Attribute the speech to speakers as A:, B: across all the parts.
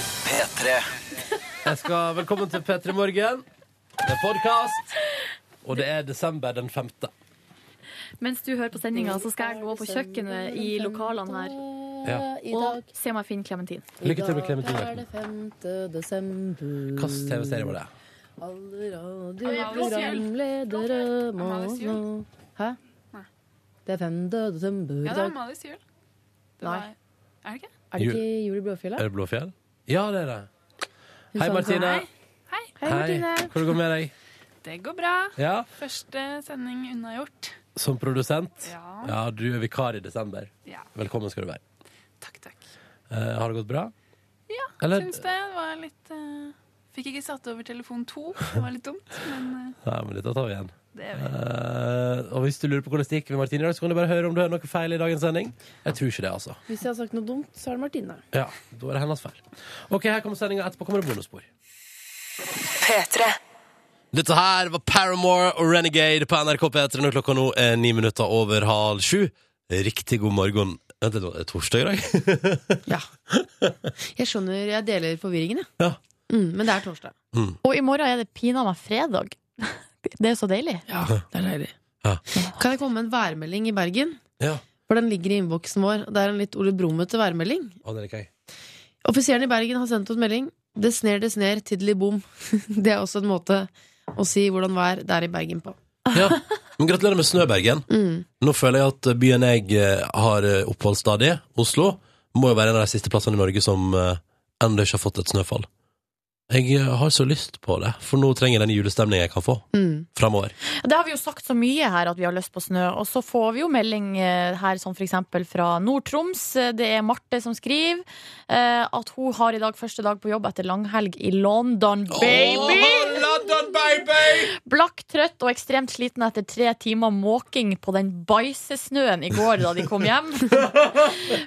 A: P3.
B: Jeg skal Velkommen til P3 Morgen. Det er podkast, og det er desember den femte.
C: Mens du hører på sendinga, så skal jeg gå på kjøkkenet i lokalene her
B: Ja.
D: I dag,
C: og se om jeg finner Clementine.
B: Lykke til med
D: i dag er
B: Clementine.
D: det 5. desember.
B: Hvilken TV-serie var det?
D: Alle
E: radioprogramledere
D: radioprogramledere må
E: Amalie Syl.
D: nå- Hæ?
E: Nei.
D: Det er 5. desember
E: Ja,
D: i
E: det er
D: dag.
E: Amalies jul. Det
D: Nei.
E: var- Er det ikke?
D: Er det ikke jul i Blåfjell,
B: Er
D: da?
B: det Blåfjell? Ja, det er det.
D: Hun
B: Hei,
D: sang-
B: Martine.
E: Hei,
D: Hei, Martine.
B: Hvordan går det med deg?
E: det går bra.
B: Ja,
E: Første sending unnagjort.
B: Som produsent?
E: Ja.
B: Ja, du er vikar i desember.
E: ja.
B: Velkommen skal du være.
E: Takk, takk.
B: Eh, har det gått bra?
E: Ja,
B: Eller-
E: syns det var litt eh, Fikk ikke satt over telefon to, det var litt dumt, men eh,
B: Nei, men dette tar vi igjen.
E: det er vi.
B: Eh, og hvis du lurer på hvordan det gikk med Martine i dag, så kan du bare høre om du hører noe feil i dagens sending. Jeg tror ikke det, altså.
D: Hvis jeg har sagt noe dumt, så er det Martine.
B: Ja, Da er det hennes feil. OK, her kommer sendinga. Etterpå kommer det bonusspor. Dette her var Paramore og Renegade på NRK P3 når klokka nå er ni minutter over halv sju. Riktig god morgen. Vent litt, nå, det er torsdag i dag?
D: Ja. Jeg skjønner, jeg deler forvirringen, jeg.
B: Ja.
D: Mm, men det er torsdag.
C: Og i morgen er det pinadø meg fredag. Det er så deilig.
D: Ja, det er deilig.
B: Ja.
D: Kan jeg komme med en værmelding i Bergen?
B: ja.
D: For den ligger i innboksen vår. og Det er en litt Ole Brummete værmelding.
B: Å, det liker jeg.
D: Offiseren i Bergen har sendt oss melding. Det sner, det sner, tiddeli bom. Det er også en måte å si hvordan vær det er i Bergen på.
B: Ja. Men gratulerer med Snøbergen.
D: Mm.
B: Nå føler jeg at byen jeg eh, har eh, oppholdsstad i, Oslo, må jo være en av de siste plassene i Norge som eh, ennå ikke har fått et snøfall. Jeg eh, har så lyst på det, for nå trenger jeg den julestemningen jeg kan få
D: Mm.
B: framover.
C: Det har vi jo sagt så mye her at vi har lyst på snø, og så får vi jo melding eh, her som for eksempel fra Nord-Troms. Eh, Det er Marte som skriver eh, at hun har i dag første dag på jobb etter langhelg i London, baby!
B: London, baby!
C: Blakk, trøtt og ekstremt sliten etter tre timer måking på den bæsjesnøen i går da de kom hjem.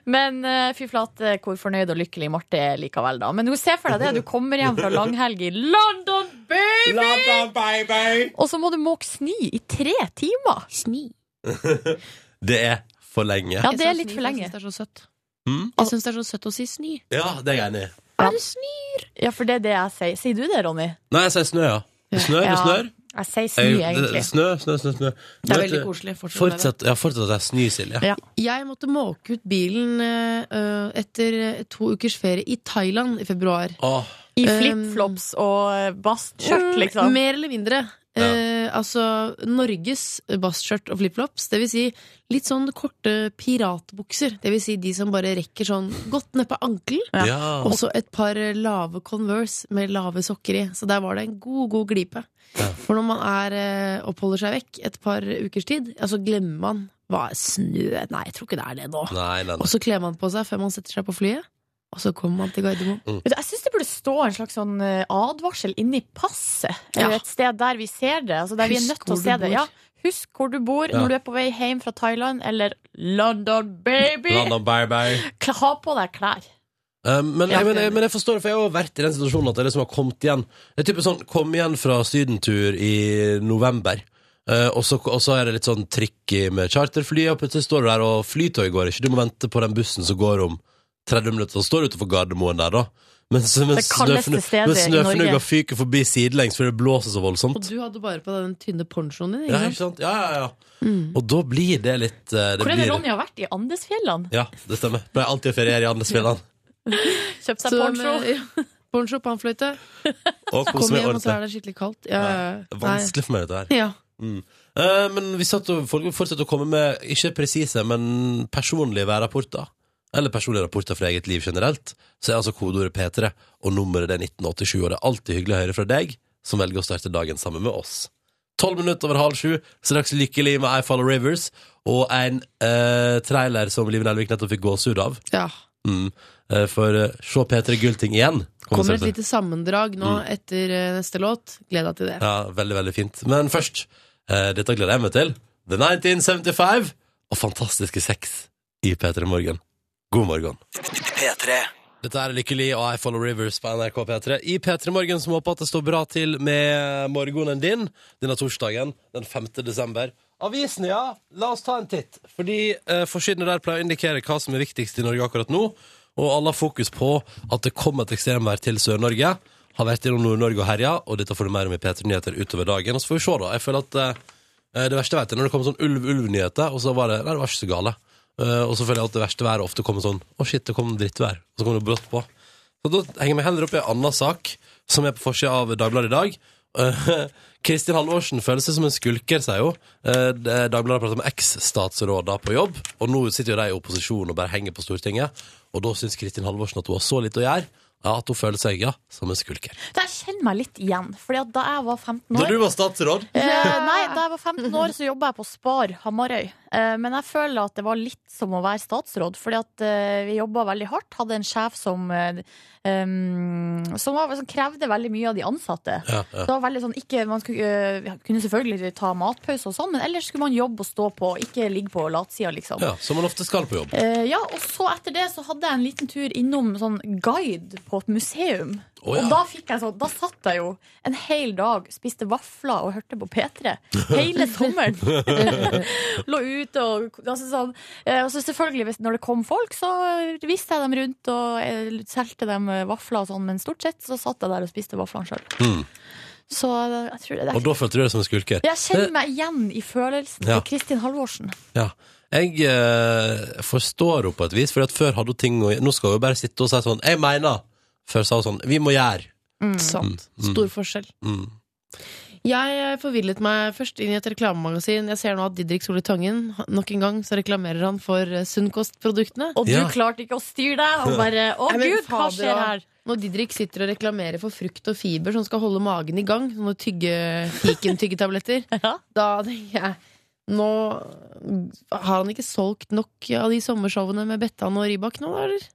C: Men eh, fy flate, hvor fornøyd og lykkelig Marte er likevel, da. Men hun ser for deg det, du kommer hjem fra langhelg i London, baby!
B: London, baby!
C: Og så må du måke snø i tre timer!
D: Sni.
B: Det er for lenge.
C: Ja, det er litt for lenge.
D: Jeg syns det er så søtt.
B: Mm.
D: Jeg syns det er så søtt å si sni.
B: Ja, det er jeg enig i.
C: Ja, for det er det jeg sier. Sier du det, Ronny?
B: Nei, jeg sier snø, ja. Det snør, det
C: Ja.
B: snør.
C: Jeg sier snø,
B: Jeg, det,
C: egentlig.
B: snø, snø, snø, snø.
D: Det er
B: Vet
D: veldig
B: du,
D: koselig. Fortsett med det.
B: Fortsett, ja, fortsett at det er snø, Silje.
C: Ja.
D: Jeg måtte måke ut bilen eh, etter eh, to ukers ferie i Thailand i februar.
B: Åh,
C: I flipflops og bastskjørt,
D: Mm,
C: liksom.
D: Mer eller mindre. Eh, altså Norges basskjørt og flipflops. Det vil si litt sånn korte piratbukser. Det vil si de som bare rekker sånn godt nedpå ankelen.
C: Ja.
B: ja.
D: Og så et par lave Converse med lave sokker i. Så der var det en god, god glipe.
B: Ja.
D: For når man er, eh, oppholder seg vekk et par ukers tid, ja, så glemmer man hva er snø Nei, jeg tror ikke det er det nå.
B: Nei, nei,
D: Og
B: nei.
D: så kler man på seg før man setter seg på flyet, og så kommer man til Gardermoen.
C: Vet du, Jeg syns det burde stå en slags sånn eh, advarsel inni passet, eller
D: Ja.
C: et sted der vi ser det. Altså der vi er
D: Husk
C: nødt til å
D: hvor
C: se
D: du
C: det.
D: bor.
C: Ja, husk hvor du bor
B: Ja.
C: når du er på vei hjem fra Thailand, eller London, baby!
B: London, baby.
C: Kla- Ha på deg klær.
B: Um, men,
C: Ja.
B: jeg, men, jeg, men jeg forstår, for jeg har også vært i den situasjonen at jeg liksom har kommet igjen. Det er typisk sånn, kom igjen fra sydentur i november, eh, og, så, og så er det litt sånn tricky med charterfly, og plutselig står du der, og flytøy går ikke. Du må vente på den bussen som går om 30 minutter, og står du utenfor Gardermoen der da. Mens, mens,
C: kaldeste
B: snøfnu-
C: stedet
B: mens
C: i
B: snøfnugga
C: Norge.
B: fyker forbi sidelengs, for det blåser så voldsomt.
D: Og du hadde bare på deg den tynne ponchoen din.
B: Ja,
D: Ikke
B: ikke sant?
D: sant?
B: Ja, ja, ja. Og da blir det litt eh,
C: Hvor er det
B: blir-
C: Ronny har vært? I Andesfjellene?
B: Ja, det stemmer. Pleier alltid å feriere i Andesfjellene.
C: Kjøpt seg
D: Så eh,
C: poncho?
D: med- ja, Poncho, pannfløyte.
B: Og kose
D: Kom
B: meg
D: hjem, og så
B: ordentlig.
D: er det skikkelig kaldt. Ja, ja, ja.
B: Det er Vanskelig for meg, dette her.
D: Nei. Ja.
B: Eh, men vi satt og, folk fortsetter å komme med ikke presise, men personlige værrapporter. Eller personlige rapporter fra eget liv generelt. Så er altså kodeordet P3, og nummeret det er 1987. Og det er alltid hyggelig å høre fra deg, som velger å starte dagen sammen med oss. Tolv minutter over halv sju, straks lykkelig med I Follow Rivers, og en eh, trailer som Live Nelvik nettopp fikk gåsehud av.
D: ja.
B: Mm. Eh, for eh, se P3 Gullting igjen. det
D: Kommer et
B: til.
D: lite sammendrag nå
B: Mm.
D: etter eh, neste låt. Gled deg til det.
B: Ja, veldig, veldig fint. Men først, eh, dette gleder jeg meg til. The 1975 og Fantastiske Sex i P3 Morgen. God morgen.
A: P3.
B: Dette er Lykkelig og I Follow Rivers på NRK P3. I P3 Morgen som håper at det står bra til med morgenen din denne torsdagen den 5. desember. Avisene, ja. La oss ta en titt. Fordi eh, forsidene der pleier å indikere hva som er viktigst i Norge akkurat nå. Og alle har fokus på at det kom et ekstremvær til Sør-Norge. Har vært gjennom Nord-Norge og herja, og dette får du mer om i P3 Nyheter utover dagen. Og så får vi se, da. Jeg føler at eh, det verste jeg vet, er når det kommer sånn ulv-ulv-nyheter, og så var det Nei, det var ikke så gale. Eh, og så føler jeg at det verste været ofte kommer sånn Å, shit, det kom drittvær. Og så kommer det brått på. Så da henger jeg meg heller opp i en annen sak, som er på forsida av Dagbladet i dag. Eh, Kristin Halvorsen føler seg som en skulker, sier hun. Eh, det- Dagbladet prater med eks-statsråder på jobb, og nå sitter jo de i opposisjon og bare henger på Stortinget. Og da syns Kristin Halvorsen at hun har så lite å gjøre. Ja, At hun føler seg ja, som en skulker.
C: Der kjenner jeg meg litt igjen. Fordi at da jeg var 15
B: Da
C: år
B: du var statsråd
C: Eh, nei, da jeg var 15 år, så jobba jeg på Spar Hamarøy. Eh, men jeg føler at det var litt som å være statsråd, fordi at eh, vi jobba veldig hardt. Hadde en sjef som, eh, em, som, var, som krevde veldig mye av de ansatte.
B: ja, ja.
C: Det var veldig sånn, ikke, man skulle, eh, kunne selvfølgelig ta matpause og sånn, men ellers skulle man jobbe og stå på, ikke ligge på latsida, liksom.
B: ja, Som man ofte skal på jobb.
C: Eh, ja, og så etter det så hadde jeg en liten tur innom sånn guide på et museum.
B: Å, ja.
C: Og da fikk jeg sånn, da satt jeg jo en hel dag, spiste vafler og hørte på P3 hele sommeren. Lå ute og altså sånn. eh, Og så selvfølgelig, hvis, når det kom folk, så viste jeg dem rundt og eh, solgte dem eh, vafler og sånn, men stort sett så satt jeg der og spiste vaflene sjøl.
B: Mm.
C: Så eh, jeg tror det
B: Og da følte du deg som en skulker.
C: Jeg kjenner meg igjen i følelsen
B: Ja.
C: til Kristin Halvorsen.
B: Ja. Jeg eh, forstår henne på et vis, Fordi at før hadde hun ting å gjøre. Nå skal hun bare sitte og si sånn 'Jeg mener'. Før sa hun sånn 'Vi må gjøre'.
D: Sant.
B: Mm, mm.
D: Stor forskjell.
B: Mm.
D: Jeg eh, forvillet meg først inn i et reklamemagasin. Jeg ser nå at Didrik Solli Tangen han- nok en gang så reklamerer han for eh, Sunnkost-produktene.
C: Og du
B: Ja.
C: klarte ikke å styre deg og bare Å,
D: Nei, men
C: gud, hva
D: fader,
C: skjer
D: da.
C: her?
D: Når Didrik sitter og reklamerer for frukt og fiber som skal holde magen i gang, sånne tygge, fiken-tyggetabletter,
C: Ja.
D: da tenker jeg Nå har han ikke solgt nok av de sommershowene med Bettan og Rybak nå, da, eller?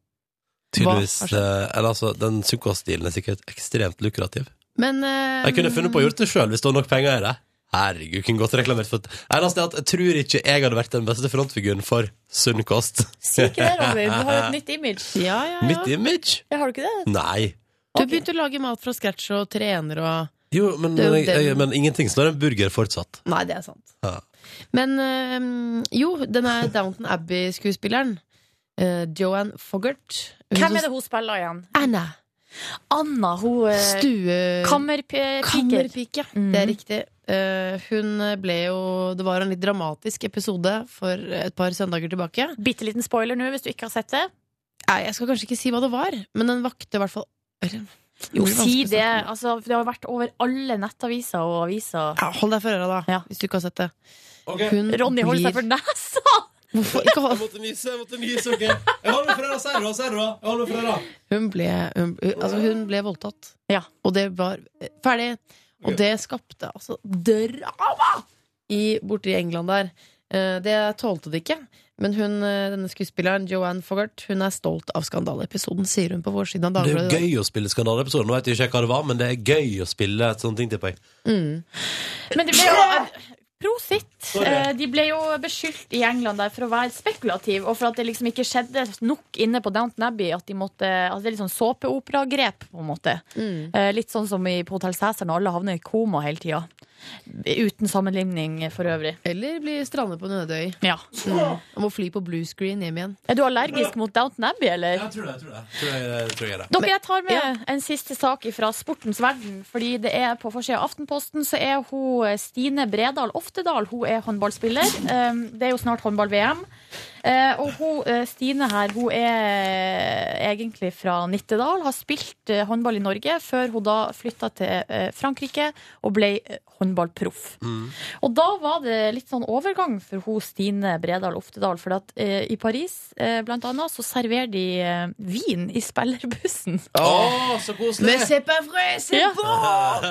B: Tydeligvis.
D: Hva har
B: eh, Eller altså, den sukkosstilen er sikkert ekstremt lukrativ.
D: Men eh,
B: Jeg kunne funnet på å gjort det sjøl hvis det var nok penger i det. Herregud, kunne godt reklamert for Eneste er at jeg tror ikke jeg hadde vært den beste frontfiguren for sunn kost.
C: Si ikke det, Ronny. Du har et nytt image.
D: Ja, ja, ja.
B: Mitt image?
C: Ja, har du ikke det?
B: Nei.
D: Du begynte å lage mat fra scratch og trener og
B: Jo, men,
D: Det er jo
B: men, jeg, jeg,
D: den-
B: men ingenting slår en burger fortsatt.
D: Nei, det er sant.
B: Ja.
D: Men eh, jo, den er Downton Abbey-skuespilleren. eh, Joanne Foggert.
C: Hvem er det hun spiller igjen?
D: Anna.
C: Anna, hun eh,
D: Stue...
C: kammerpiker.
D: Kammerpike.
C: Mhm.
D: Det er riktig. Eh, hun ble jo Det var en litt dramatisk episode for et par søndager tilbake.
C: Bitte liten spoiler nå, hvis du ikke har sett det.
D: Nei, jeg skal kanskje ikke si hva det var, men den vakte i hvert fall
C: Jo,
D: Det blir
C: si
D: vanskelig å
C: det.
D: snakke om.
C: Altså, det har vært over alle nettaviser og aviser.
D: Ja, hold deg for øra, da,
C: Ja.
D: hvis du ikke har sett det.
B: Ok.
D: Hun
C: Ronny holder seg for nesa!
D: Hvorfor ikke hold...
B: måtte nyse, jeg måtte nyse, ok. Jeg holder for dere, serra, serra. Jeg holder for dere.
D: hun, ble, hun, altså, hun ble voldtatt.
C: Ja.
D: Og det var eh, ferdig. Og det skapte altså drama i, borte i England der. Eh, det tålte det ikke. Men hun, eh, denne skuespilleren Joanne Foggart Hun er stolt av skandaleepisoden, sier hun på vårsiden av
B: Det er
D: Dagbladet. i dag.
B: jo gøy å spille skandaleepisoder. Nå vet jeg ikke hva det var, men det er gøy å spille et sånt ting til poeng.
D: Mm.
C: Men det ble jo Prosit!
B: Sorry.
C: Eh, De ble jo beskyldt i England der for å være spekulativ, og for at det liksom ikke skjedde nok inne på Downton Abbey at de måtte Altså det er litt sånn såpeoperagrep, på en måte.
D: Mm.
C: Eh, Litt sånn som i, på Hotell Cæsar når alle havner i koma hele tida. Uten sammenligning for øvrig.
D: Eller bli strandet på Nødøy.
C: Ja.
D: Og må fly på blue screen hjem igjen.
C: Er du allergisk mot Downton Abbey, eller?
B: Jeg tror det, jeg tror det. Tror jeg, jeg tror jeg er det.
C: Dere, jeg tar med
D: Ja.
C: en siste sak fra sportens verden. Fordi det er På forsida av Aftenposten så er hun eh, Stine Bredal Oftedal hun er håndballspiller. Um, Det er jo snart håndball-VM. Eh, Og hun, eh, Stine her hun er eh, egentlig fra Nittedal. Har spilt eh, håndball i Norge før hun da flytta til eh, Frankrike og ble eh, håndballproff.
B: Mm.
C: Og da var det litt sånn overgang for hun Stine Bredal Oftedal. For at eh, i Paris, eh, blant annet, så serverer de eh, vin i spillerbussen.
B: Å, så koselig!
D: Men c'est pas vrai, c'est
C: Ja.
D: bon!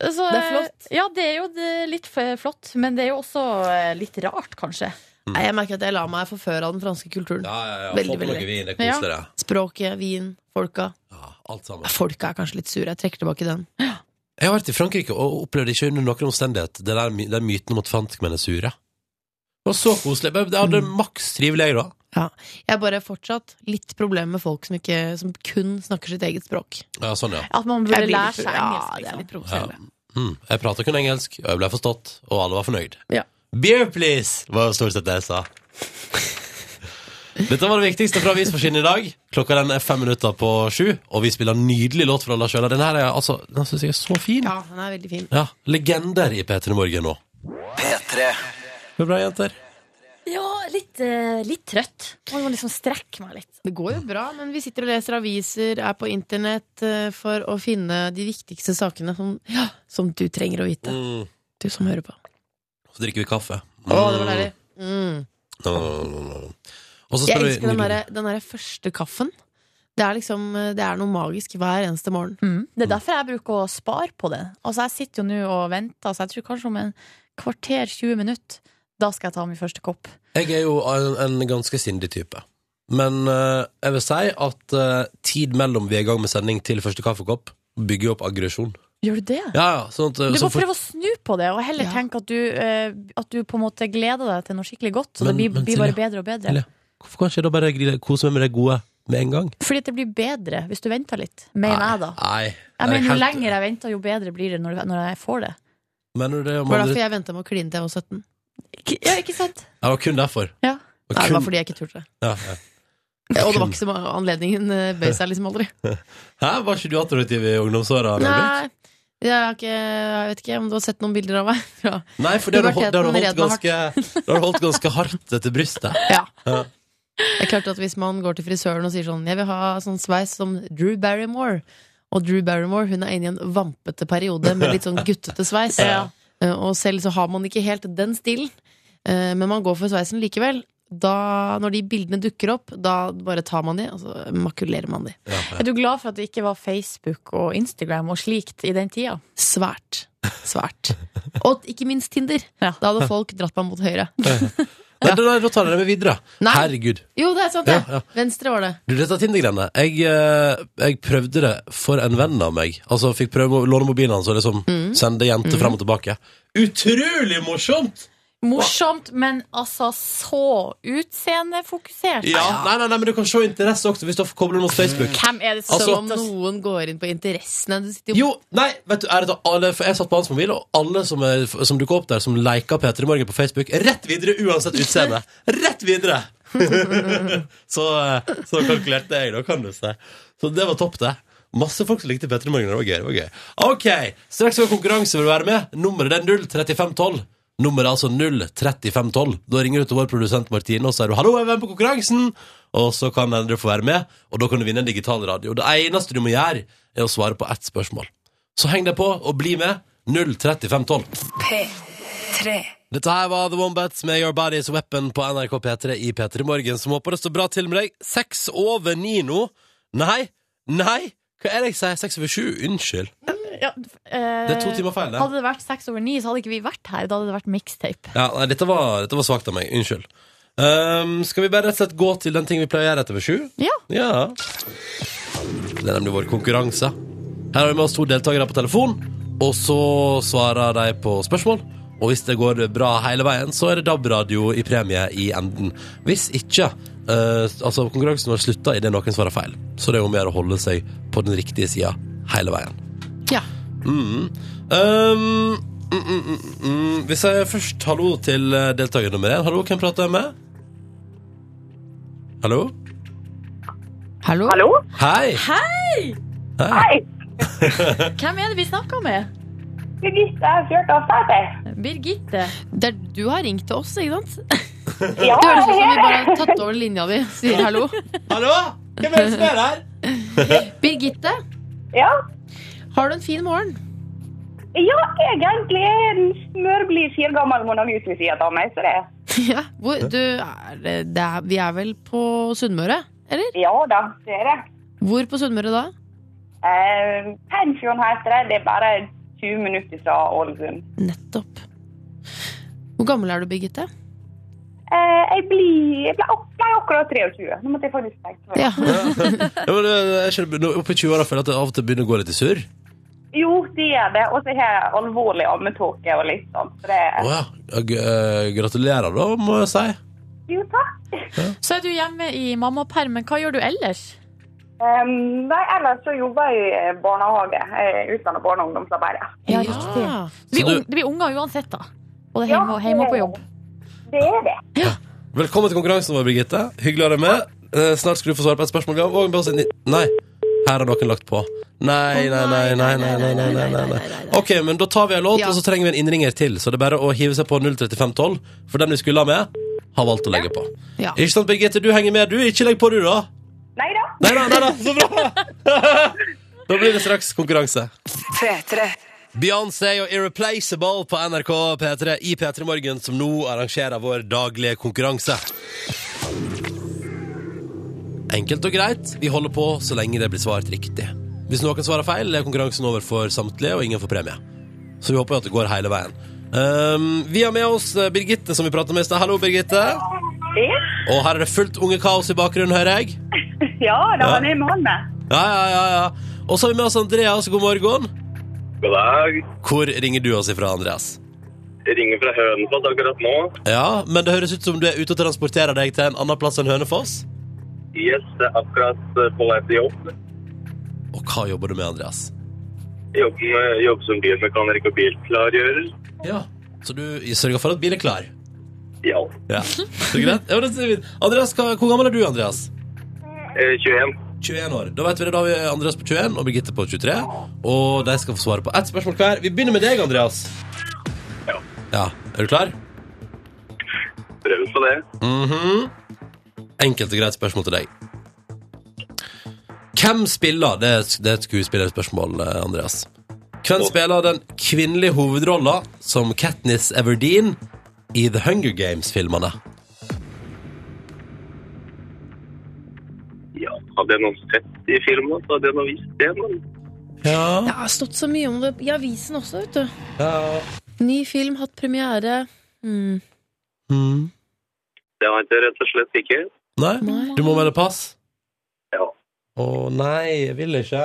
C: Så,
D: Det er flott.
C: eh, Ja, det er jo det- litt f- flott. Men det er jo også eh, litt rart, kanskje.
D: Nei, Jeg merker at jeg lar meg forføre av den franske kulturen.
B: Ja, ja, ja.
D: Veldig,
B: Få på
D: veldig.
B: noe vin, det er koselig, det.
D: Språket, vin, folka.
B: Ja, alt sammen.
D: Folka er kanskje litt sure. Jeg trekker tilbake den.
B: Jeg har vært i Frankrike og opplevde ikke under noen omstendighet det der, my- den myten om at franskmenn er sure. Det var så koselig. Jeg hadde
D: Mm.
B: maks trivelig, jeg, da.
D: Jeg har bare fortsatt litt problemer med folk som, ikke, som kun snakker sitt eget språk.
B: Ja, sånn, ja.
C: At man burde
D: Jeg blir
C: lære
D: litt-
C: seg engelsk.
D: Ja, det er
C: Liksom.
D: litt provoserende.
B: Mm. Jeg prata kun engelsk, og jeg ble forstått, og alle var fornøyd.
D: Ja.
B: Beer, please! var jo stort sett det jeg sa. Dette var det viktigste fra Avisforsiden i dag. Klokka den er fem minutter på sju, og vi spiller en nydelig låt fra Lars Øhler. Den her er altså, den synes jeg er så fin. Ja,
D: Ja, den er veldig fin.
B: Legender i P3 Morgen nå.
A: P3
B: Det er bra, jenter.
C: Ja, litt, eh, litt trøtt. Må liksom strekke meg litt.
D: Det går jo bra, men vi sitter og leser aviser, er på internett eh, for å finne de viktigste sakene som, ja, som du trenger å vite.
B: Mm.
D: Du som hører på.
B: Så drikker vi kaffe.
D: Å, det var deilig. Mm.
B: Mm. Og så
D: Jeg
B: spiller vi
D: elsker den
B: nydelig-
D: derre den derre første kaffen. Det er liksom Det er noe magisk hver eneste morgen.
C: Det er derfor jeg bruker å spare på det. Altså, jeg sitter jo nå og venter, så jeg tror kanskje om en kvarter, 20 minutter, da skal jeg ta min første kopp.
B: Jeg er jo en, en ganske sindig type. Men eh, jeg vil si at eh, tid mellom vi er i gang med sending til første kaffekopp, bygger opp aggresjon.
C: Gjør du det?
B: Ja, ja, sånn at, eh,
C: Du
B: så
C: må
B: for-
C: prøve å snu på det, og heller
D: Ja.
C: tenke at du, eh, at du på en måte gleder deg til noe skikkelig godt. Så
B: Men-
C: det blir,
B: men
C: blir bare
B: Silje-
C: bedre og bedre.
B: Silje, Hvorfor kan ikke jeg da bare gl- kose meg med det gode med en gang?
C: Fordi at det blir bedre hvis du venter litt, mener jeg da.
B: Nei.
C: Jeg
B: Nei,
C: mener Jo
B: helt-
C: lenger jeg venter, jo bedre blir det når, når jeg får det.
B: Mener du det? om
D: Det var
B: andre-
D: derfor jeg venta med å kline til jeg var 17.
C: Ikke- Ja, ikke sant?
B: Ja, det var kun derfor.
C: Ja.
B: Og
D: Nei, det var
B: kun-
D: fordi jeg ikke turte.
B: Ja, ja.
D: Og det var ikke så mange anledningen eh, bøy seg liksom aldri.
B: Hæ, var ikke du attraktiv i ungdomsåra? Nei.
D: Nei, jeg, har ikke, jeg vet ikke om du har sett noen bilder av meg. Ja.
B: Nei, for det har du holdt, det har du holdt,
D: Puberteten red meg
B: ganske- det har du holdt ganske hardt etter brystet.
D: Ja.
B: Ja.
D: Det er klart at Hvis man går til frisøren og sier sånn Jeg vil ha sånn sveis som Drew Barrymore Og Drew Barrymore hun er inne i en vampete periode med litt sånn guttete sveis.
C: Ja.
D: Eh, Og selv så har man ikke helt den stilen, eh, men man går for sveisen likevel. Da, når de bildene dukker opp, da bare tar man de, og så makulerer man de.
B: Ja, ja.
C: Er du glad for at det ikke var Facebook og Instagram og slikt i den tida?
D: Svært. Svært. Og ikke minst Tinder.
C: Ja.
D: Da hadde folk dratt meg mot høyre.
B: Nei, da- da tar jeg det med videre.
D: Nei.
B: Herregud.
D: Jo, det er sant, det!
B: Ja, ja.
D: Venstre var det.
B: Du, dette Tinder-greiene jeg, eh, jeg prøvde det for en venn av meg. Altså, jeg fikk prøve å låne mobilen hans og liksom sende jenter frem og tilbake. Utrolig morsomt!
C: Morsomt, men altså så utseendefokusert.
B: Ja. Nei, nei, nei, men du kan se interesse også hvis du har koblet den mot Facebook.
C: Hvem er det som
B: Altså-
D: Som om noen går inn på interessene. Du sitter
B: Jo, nei, vet du, er det da alle, for jeg satt på hans mobil, og alle som, er, som dukker opp der, som liker Peter i morgen på Facebook, rett videre uansett utseende. Rett videre! så, eh, så kalkulerte jeg, da, kan du se. Så det var topp, det. Masse folk som likte Peter i morgen. Det var gøy. det var gøy. Ok, Straks har vi konkurranse. Vil du være med? Nummeret er 03512. Nummeret er altså 03512. Da ringer du til vår produsent Martine og sier du 'hallo, jeg er med på konkurransen'. Og så kan andre få være med, og da kan du vinne en digital radio. Det eneste du må gjøre, er å svare på ett spørsmål. Så heng deg på og bli med. 03512.
E: P3.
B: Dette her var The Wombats med Your Body's Weapon på NRK P3 i P3 Morgen, som håper det står bra til med deg. Seks over ni nå. Nei, nei, hva er det jeg sier? Seks over sju? Unnskyld.
C: Ja, eh,
B: Det er to timer feil, det.
C: Hadde det vært seks over ni, så hadde ikke vi vært her. Da hadde det vært mixtape.
B: Ja, nei, dette var, dette var svakt av meg. Unnskyld. Ehm, skal vi bare rett og slett gå til den ting vi pleier å gjøre etter ved sju?
C: Ja.
B: Ja. Det er nemlig vår konkurranse. Her har vi med oss to deltakere på telefon, og så svarer de på spørsmål. Og hvis det går bra hele veien, så er det DAB-radio i premie i enden. Hvis ikke eh, Altså, konkurransen var slutta idet noen svarer feil. Så det er om å gjøre å holde seg på den riktige sida hele veien.
D: Ja.
B: Mm. Um, mm, mm, mm, mm. Hvis jeg først hallo til eh, deltaker nummer én. Hallo, hvem prater jeg med? Hallo?
D: Hallo?
B: Hei! Hei!
C: Hvem er det vi snakker med?
F: Birgitte er fjørt av Sæter.
C: Birgitte.
D: Det er, du har ringt til oss, ikke sant?
F: Ja,
D: Det høres ut som
F: jeg
D: vi bare har tatt over linja di. Sier hallo.
B: Hallo? Hvem er det som er her?
D: Birgitte,
F: ja.
D: har du en fin morgen?
F: ja, egentlig er jeg en smørblid fire gammel monagut ved siden av meg, så det
D: Ja. Hvor, du, er, det- det er, vi er vel på Sunnmøre, eller?
F: Ja da, det er det.
D: Hvor på Sunnmøre da?
F: Eh, Penfjorden heter det. Det er bare 20 minutter fra Ålesund.
D: Nettopp. Hvor gammel er du, Birgitte?
F: Eh, jeg blir Jeg ble, ak- ble akkurat 23. Nå måtte jeg faktisk tenke meg.
B: Ja,
D: Ja.
B: men, eh, jeg skjønner, nå Oppe i 20-åra føler jeg at det av og til begynner å gå litt i surr.
F: Jo, det er det. Og så har jeg alvorlig ammetåke og litt sånn. Så det
B: Å ja. Ja, g- eh, Gratulerer, da, må jeg si.
F: Jo, takk.
C: Så er du hjemme i mammapermen. Hva gjør du ellers?
F: Eh, nei, ellers så jobber jeg i barnehage. Jeg er utdannet barne- og ungdomsarbeider.
C: Ja,
D: Ja.
C: Det blir,
B: Så du-
C: ung- det blir unger uansett, da. Både
F: Ja,
C: hjemme og, hjemme og på jobb.
F: Det er det.
B: Velkommen til konkurransen vår, Birgitte. Hyggelig å ha deg med. Eh, Snart skal du få svare på et spørsmål. Gav. Og bare si ni- Nei, her har noen lagt på. Nei, nei, nei, nei, nei, nei, nei, nei, nei, nei. Ok, men da tar vi en låt,
D: Ja.
B: og så trenger vi en innringer til. Så det er bare å hive seg på 03512, for den vi skulle ha med, har valgt å legge på.
D: Ja.
B: Ikke sant, Birgitte? Du henger med, du. Ikke legg på, du, da.
F: Nei da.
B: Nei da, nei da. Så bra! da blir det straks konkurranse. Beyoncé og Irreplaceable på NRK P3 i P3 Morgen, som nå arrangerer vår daglige konkurranse. Enkelt og greit. Vi holder på så lenge det blir svart riktig. Hvis noen svarer feil, er konkurransen over for samtlige, og ingen får premie. Så vi håper jo at det går hele veien. Ehm, vi har med oss eh, Birgitte, som vi pratet med i stad. Hallo, Birgitte.
F: Yes.
B: Og her er det fullt ungekaos i bakgrunnen, hører jeg.
F: Ja, da
B: Ja.
F: var det med han med.
B: Ja, ja, ja, ja. Og så har vi med oss Andreas. God morgen.
A: God dag.
B: Hvor ringer du oss ifra, Andreas?
A: Jeg ringer fra Hønefoss akkurat nå.
B: Ja, men det høres ut som du er ute og transporterer deg til en annen plass enn Hønefoss.
A: Yes, det er akkurat eh, på vei til jobb.
B: Og hva jobber du med, Andreas?
A: Jobb, med, jobb som bilmekaniker og bilklargjører.
B: Ja. Så du sørger for at bilen er klar?
A: Ja.
B: Ja. Så greit. Ja, men det er fint. Andreas, hva, hvor gammel er du, Andreas?
A: Eh, 21.
B: 21 år. Da vet vi det, da har vi Andreas på 21 og Birgitte på 23. Og de skal få svare på ett spørsmål hver. Vi begynner med deg, Andreas.
A: Ja.
B: Ja, Er du klar?
A: Prøver på det.
B: Mhm. Enkelt og greit spørsmål til deg. Hvem spiller Det er, det er et skuespillerspørsmål, eh, Andreas. Hvem spiller den kvinnelige hovedrolla som Katniss Everdeen i The Hunger Games-filmene?
A: Ja, hadde jeg noen sett i filmen, så hadde jeg noe visst det. Men
B: Ja.
D: Det har stått så mye om det i avisen også, vet du.
B: ja.
D: Ny film, hatt premiere. Mm,
B: Mm.
A: det veit jeg rett og slett ikke.
B: Nei?
D: nei.
B: Du må melde pass.
A: Ja.
B: Å nei, jeg vil ikke.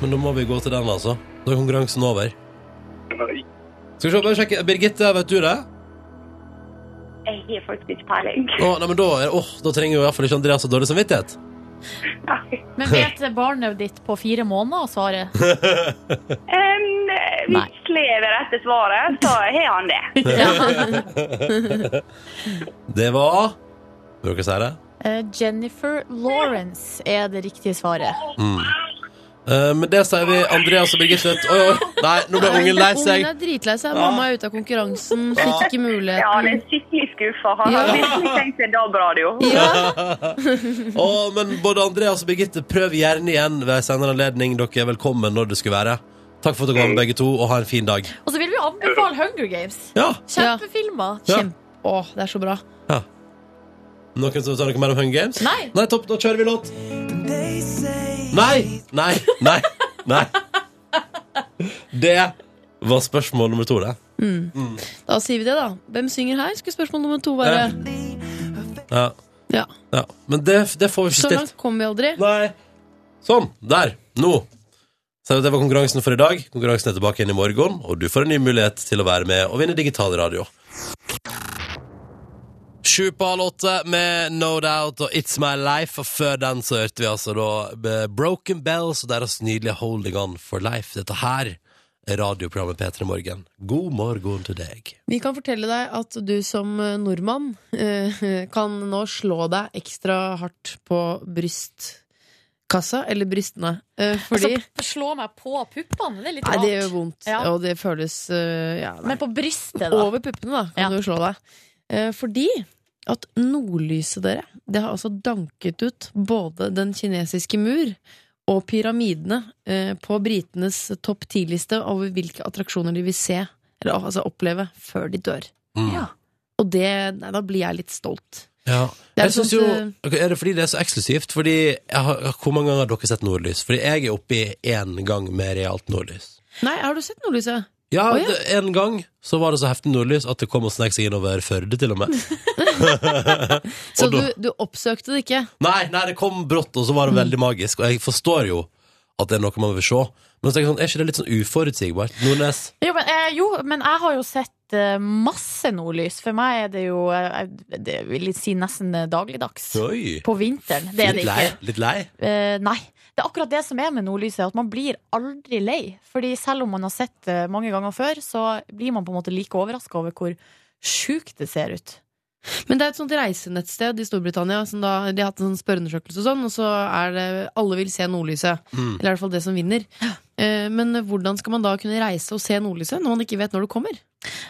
B: Men da må vi gå til den, altså. Da er konkurransen over.
A: Nei.
B: Skal vi se, bare sjekke. Birgitte, vet du det?
F: Jeg har faktisk ikke peiling.
B: Å, nei, men da, er- åh, da trenger jo i hvert fall ikke Andreas ha dårlig samvittighet.
F: Nei.
C: Men vet barnet ditt på fire måneder svaret?
F: Em,
C: Nei.
F: hvis lever etter svaret, så har han det.
B: Det var Vil dere si det?
C: Eh, Jennifer Lawrence er det riktige svaret.
B: Mm. Eh, men det sier vi Andreas og Birgitte. Oi, oi. Nei, nå ble ungen lei seg.
D: Ungen er dritlei seg. Mamma er ute av konkurransen, fikk ikke
F: Ja, han er
D: muligheten.
F: skikkelig skuffa. Han har
D: Ja.
F: virkelig tenkt seg DAB-radio.
D: Ja,
B: Å, men både Andreas og Birgitte, prøv gjerne igjen ved en senere anledning. Dere er velkommen når det skulle være. Takk for at dere var med, begge to, og ha en fin dag.
C: Og så vil vi anbefale Hunger Games.
B: Ja,
C: Kjempefilmer.
B: Ja.
D: Kjempe... Åh, det er så bra.
B: Noen som vil ta noe mer om Hunger Games?
C: Nei.
B: Nei, topp, nå kjører vi låt. Nei, nei, nei, nei. Det var spørsmål nummer to, det.
D: Da sier vi det, da. Hvem synger her? Skulle spørsmål nummer to være.
B: Ja,
D: Ja.
B: ja. Men det, det får vi ikke
D: Så
B: stilt.
D: langt kom vi aldri.
B: Nei. Sånn. Der. Nå. Så det var konkurransen for i dag. Konkurransen er tilbake igjen i morgen, og du får en ny mulighet til å være med og vinne digital radio. Sju på halv åtte med No Doubt og It's My Life, og før den så hørte vi altså da eh, Broken Bells og deres nydelige Holding On for Life. Dette her er radioprogrammet P3 Morgen. God morgen til deg.
D: Vi kan fortelle deg at du som eh, nordmann eh, kan nå slå deg ekstra hardt på brystkassa, eller brystene, eh, fordi
C: Altså, slå meg på puppene. Det er litt
D: Nei, det gjør
C: rart.
D: vondt,
C: Ja.
D: og det føles eh, ja, nei.
C: Men på brystet, da.
D: Over puppene, da, kan
C: Ja.
D: du slå deg. Eh, Fordi at nordlyset, dere, det har altså danket ut både den kinesiske mur og pyramidene eh, på britenes topp ti-liste over hvilke attraksjoner de vil se, eller altså oppleve, før de dør.
B: Mm.
C: Ja.
D: Og det, nei, da blir jeg litt stolt.
B: Ja.
D: Det er
B: jeg synes jo,
D: sånn
B: Ok, er det fordi det er så eksklusivt? Fordi jeg har, Hvor mange ganger har dere sett nordlys? Fordi jeg er oppe i én gang med realt nordlys.
D: Nei, har du sett nordlyset?
B: Ja,
D: Å, ja.
B: det- En gang så var det så heftig nordlys at det kom og snek seg innover Førde, til og med.
D: Så
B: Og
D: du,
B: da-
D: du oppsøkte det ikke?
B: Nei, nei, det kom brått, og så var det
D: Mm.
B: veldig magisk. Og jeg forstår jo at det er noe man vil se. Men så tenker jeg sånn, er ikke det litt sånn uforutsigbart? Nordnes?
C: Jo men, eh, jo, men jeg har jo sett eh, masse nordlys. For meg er det jo eh, det vil jeg si nesten eh, dagligdags.
B: Oi!
C: På vinteren. Det er
B: litt
C: det
B: lei?
C: ikke.
B: Litt lei?
C: Eh, nei. Det er akkurat det som er med nordlyset, at man blir aldri lei. Fordi selv om man har sett det mange ganger før, så blir man på en måte like overraska over hvor sjukt det ser ut.
D: Men det er et sånt reisenettsted i Storbritannia. Som da, de har hatt en sånn spørreundersøkelse og sånn, og så er det alle vil se nordlyset.
B: Mm.
D: Eller i hvert fall det som vinner. Eh, Men hvordan skal man da kunne reise og se nordlyset når man ikke vet når det kommer?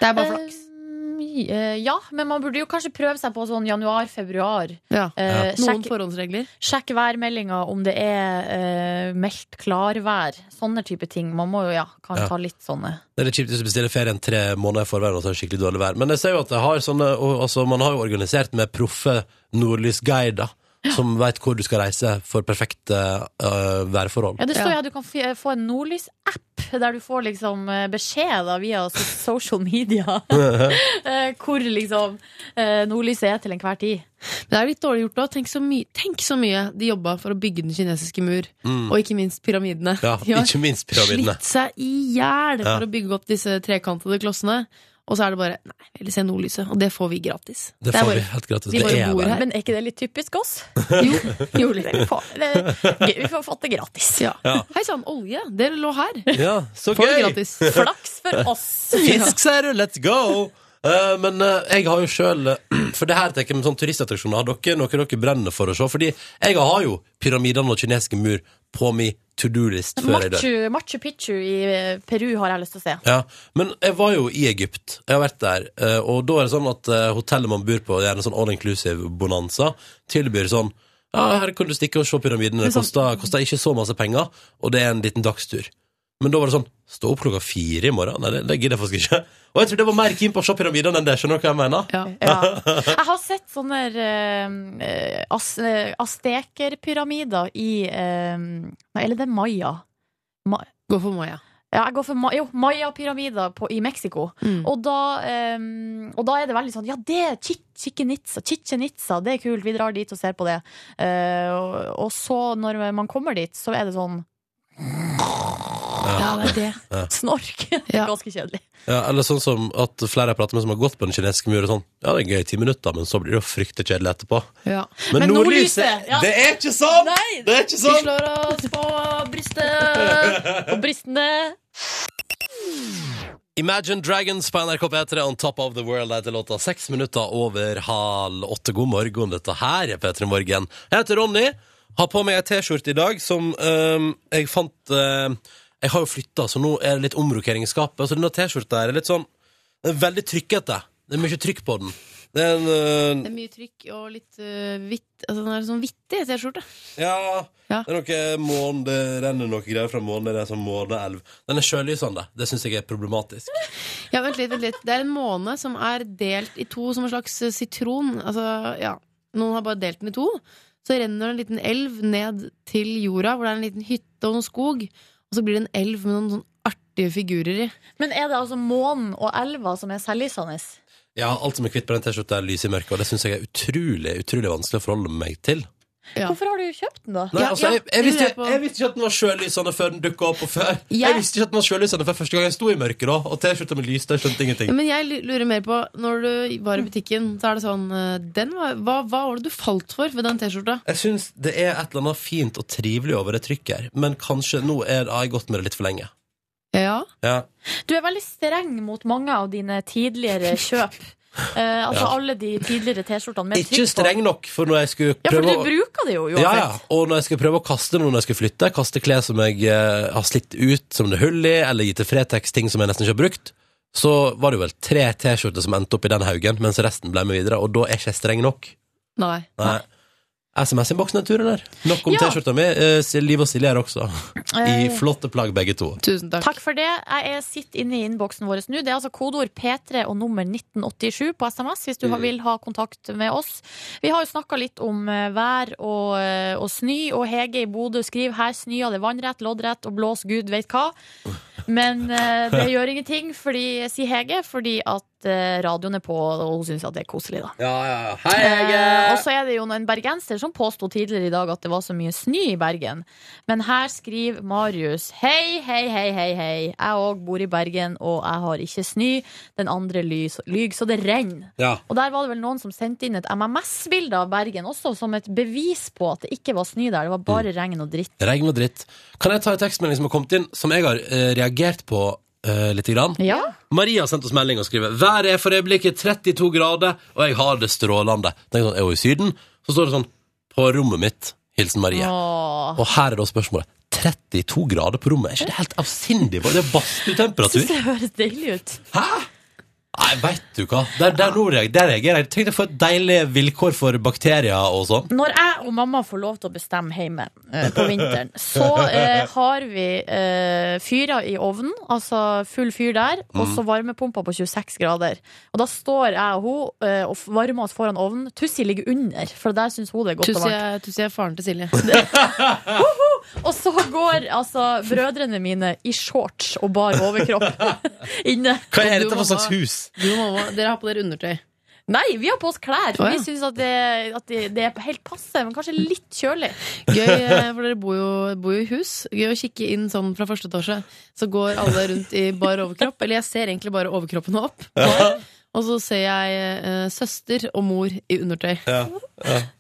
D: Det er bare flaks.
C: Eh, eh, Ja, men man burde jo kanskje prøve seg på sånn januar-februar.
D: Ja.
C: Eh,
D: Noen
C: sjekk-
D: forhåndsregler.
C: Sjekk værmeldinga om det er eh, meldt klarvær. Sånne type ting. Man må jo, ja, kan
B: Ja.
C: ta litt sånne.
B: Det er litt kjipt hvis du bestiller ferien tre måneder i forveien og så er det skikkelig dårlig vær. Men jeg ser jo at jeg har sånne, og, altså, man har jo organisert med proffe nordlysguider som veit hvor du skal reise for perfekte øh, værforhold.
C: Ja, det står
D: Ja.
C: jo at du kan fi- få en nordlys-app, der du får liksom eh, beskjed da, via so- social media eh, hvor liksom eh, nordlyset er til enhver tid.
D: Men det er litt dårlig gjort da. Tenk så, mye- tenk så mye de jobba for å bygge den kinesiske mur.
B: Mm.
D: Og ikke minst pyramidene.
B: Ja,
D: De har
B: ikke minst pyramidene.
D: Slitt seg i hjel
B: Ja.
D: for å bygge opp disse trekantede klossene. Og så er det bare Nei, vi vil se nordlyset. Og det får vi gratis.
B: Det
D: er
B: får vi
D: bare-
B: helt gratis.
D: vi
B: Det
D: bare
B: er
D: bor
B: bare
D: her.
C: Men er ikke det litt typisk oss?
D: Jo, jo litt.
C: Vi får, det, vi får fått det gratis.
D: Ja.
B: Ja.
D: Hei sann, olje! Dere lå her.
B: Ja, så
D: Får
B: gøy!
D: det gratis.
C: Flaks for oss!
B: Fisk, ser du! Let's go! Eh, men eh, jeg har jo sjøl For det her tenker jeg med sånn turistattraksjoner. Har dere noe dere brenner for å se? Fordi jeg har jo pyramidene og kinesiske mur på mi to do-list før jeg dør.
C: Machu, Machu Picchu i eh, Peru har jeg lyst til å se.
B: Ja, Men jeg var jo i Egypt. Jeg har vært der. eh, Og da er det sånn at eh, hotellet man bor på, gjerne sånn all inclusive bonanza, tilbyr sånn Ja, her kan du stikke og se pyramidene. Det
C: Men sånn-
B: koster, koster ikke så masse penger, og det er en liten dagstur. Men da var det sånn Stå opp klokka fire i morgen? Nei, det, det gidder jeg faktisk ikke. Og jeg tror det var mer keen på å se pyramidene enn det. Skjønner du hva jeg mener?
D: Ja.
C: Ja. Jeg har sett sånne uh, as, eh, aztekerpyramider i eh, Nei, eller det er maya. Ma,
D: Gå for Maya.
C: ja, jeg går for ma, jo, maya-pyramider på- i Mexico.
D: Mm.
C: Og da, eh, og da er det veldig sånn Ja, det er Chi- Chichen Itza, Chichen Itza, det er kult, vi drar dit og ser på det. Eh, og, og så, når man kommer dit, så er det sånn
D: Ja, det er det.
C: snork. Det
D: Ja.
C: er ganske kjedelig.
B: Ja, eller sånn som at flere jeg prater med som har gått på den kinesiske muren, sånn Ja, det er gøy i ti minutter, men så blir det jo fryktelig kjedelig etterpå.
D: Ja.
B: Men,
C: Men
B: nordlyset,
C: nordlyset, ja.
B: det er ikke sånn!
C: Nei!
B: Det er ikke
C: Vi
B: sånn!
C: slår oss på brystet På brystene.
B: Imagine Dragons på NRK P3 On Top of the World heter låta. Seks minutter over halv åtte. God morgen, dette her er P3 Morgen. Jeg heter Ronny. Har på meg ei T-skjorte i dag som øhm, jeg fant øhm, Jeg har jo flytta, så nå er det litt omrokering i skapet. Så denne T-skjorta her er litt sånn den er veldig trykkete. Det er mye trykk på den. Det er en øh,
D: Det er mye trykk og litt øh, hvitt altså, Den er sånn vittig T-skjorte.
B: Ja.
D: Ja.
B: Det er noe måne, det renner noe greier fra månen. Det er sånn måneelv. Den er sjølysende. Det syns jeg er problematisk.
D: Ja, vent litt, vent litt. Det er en måne som er delt i to som en slags øh, sitron. Altså, ja. Noen har bare delt den i to. Så renner det en liten elv ned til jorda, hvor det er en liten hytte og noen skog. Og så blir det en elv med noen sånn artige figurer i.
C: Men er det altså månen og elva som er selvlysende?
B: Ja, alt som er kvitt på den T-skjorta er lys i mørket, og det syns jeg er utrolig utrolig vanskelig å forholde meg til.
D: Ja.
C: Hvorfor har du kjøpt den, da?
B: Nei,
D: Ja,
B: altså, jeg, jeg,
D: ja,
B: visste,
D: lurer jeg på.
B: jeg visste ikke at den var sjølysende før den dukka opp. Og før. Jeg
D: Jeg-
B: visste ikke at den var sjølysende før første gang jeg sto i mørket, da. Og T-skjorta med lys, der skjønte jeg
D: Ja,
B: ingenting.
D: Men jeg lu- lurer mer på Når du var i butikken, så er det sånn eh, den var, hva, hva var det du falt for ved den T-skjorta?
B: Jeg syns det er et eller annet fint og trivelig over det trykket her, men kanskje nå er, har jeg gått med det litt for lenge.
D: Ja.
B: Ja.
C: Du er veldig streng mot mange av dine tidligere kjøp. Eh, altså
B: Ja.
C: alle de tidligere T-skjortene med
B: Ikke streng nok for når jeg skulle
C: Ja, for
B: prøve
C: du
B: å
C: bruker det jo uansett.
B: ja, ja. Og når jeg skal prøve å kaste noe når jeg skal flytte, kaste klær som jeg eh, har slitt ut, som det er hull i, eller gi til Fretex ting som jeg nesten ikke har brukt, så var det jo vel tre T-skjorter som endte opp i den haugen, mens resten ble med videre, og da er ikke jeg streng nok.
D: Nei.
B: Nei. SMS-innboksen er turen der. Nok om
C: Ja.
B: T-skjorta mi. Eh, Liv og Silje er også. I
C: Eh,
B: flotte plagg, begge to.
D: Tusen takk.
C: Takk for det. Jeg er- sitter inne i innboksen vår nå. Det er altså kodeord P3 og nummer 1987 på SMS hvis du har- vil ha kontakt med oss. Vi har jo snakka litt om eh, vær og, eh, og snø, og Hege i Bodø skriver her snøa det vannrett, loddrett og blås gud veit hva. Men eh, det gjør ingenting, fordi, sier Hege, fordi at eh, radioen er på, og hun syns at det er koselig, da.
B: Ja, ja, ja. Hei,
C: Eh, og så er det jo en bergenser som påsto tidligere i dag at det var så mye snø i Bergen. Men her skriver Marius Hei, hei, hei, hei, hei. Jeg òg bor i Bergen, og jeg har ikke snø. Den andre lys- lyg, så det renner.
B: Ja.
C: Og der var det vel noen som sendte inn et MMS-bilde av Bergen også, som et bevis på at det ikke var snø der. Det var bare regn og dritt.
B: Regn og dritt. Kan jeg ta en tekstmelding som har kommet inn, som jeg har eh, reagert på eh, lite grann?
C: Ja.
B: Maria har sendt oss melding og skriver Været er for øyeblikket 32 grader, og jeg har det strålende. Tenk sånn, er hun i Syden? Så står det sånn På rommet mitt. Hilsen Maria.
C: Åh.
B: Og her er da spørsmålet. 32 grader på rommet, er ikke det helt avsindig? Det er badstuetemperatur.
C: Syns det høres deilig ut.
B: Nei, veit du hva. Der, der, nå reager- der reagerer jeg. Tenk deg for et deilig vilkår for bakterier og sånn.
C: Når jeg og mamma får lov til å bestemme hjemme eh, på vinteren, så eh, har vi eh, fyra i ovnen, altså full fyr der, og så varmepumpa på 26 grader. Og da står jeg og hun eh, og varmer oss foran ovnen. Tussi ligger under, for der syns hun det er godt og
D: Tussi
C: varmt.
D: er, Tussi er faren til Silje.
C: Og så går altså brødrene mine i shorts og bar overkropp inne.
B: Hva er
D: Og du,
B: dette for slags
D: mamma?
B: hus?
D: Du og mamma, dere har på dere undertøy.
C: Nei, vi har på oss klær, for
D: Å, ja.
C: vi syns at, det, at det, det er helt passe, men kanskje litt kjølig.
D: Gøy, eh, for dere bor jo, bor jo i hus. Gøy å kikke inn sånn fra første etasje. Så går alle rundt i bar overkropp. Eller jeg ser egentlig bare overkroppen og opp. Og så ser jeg eh, søster og mor i undertøy.
B: Ja,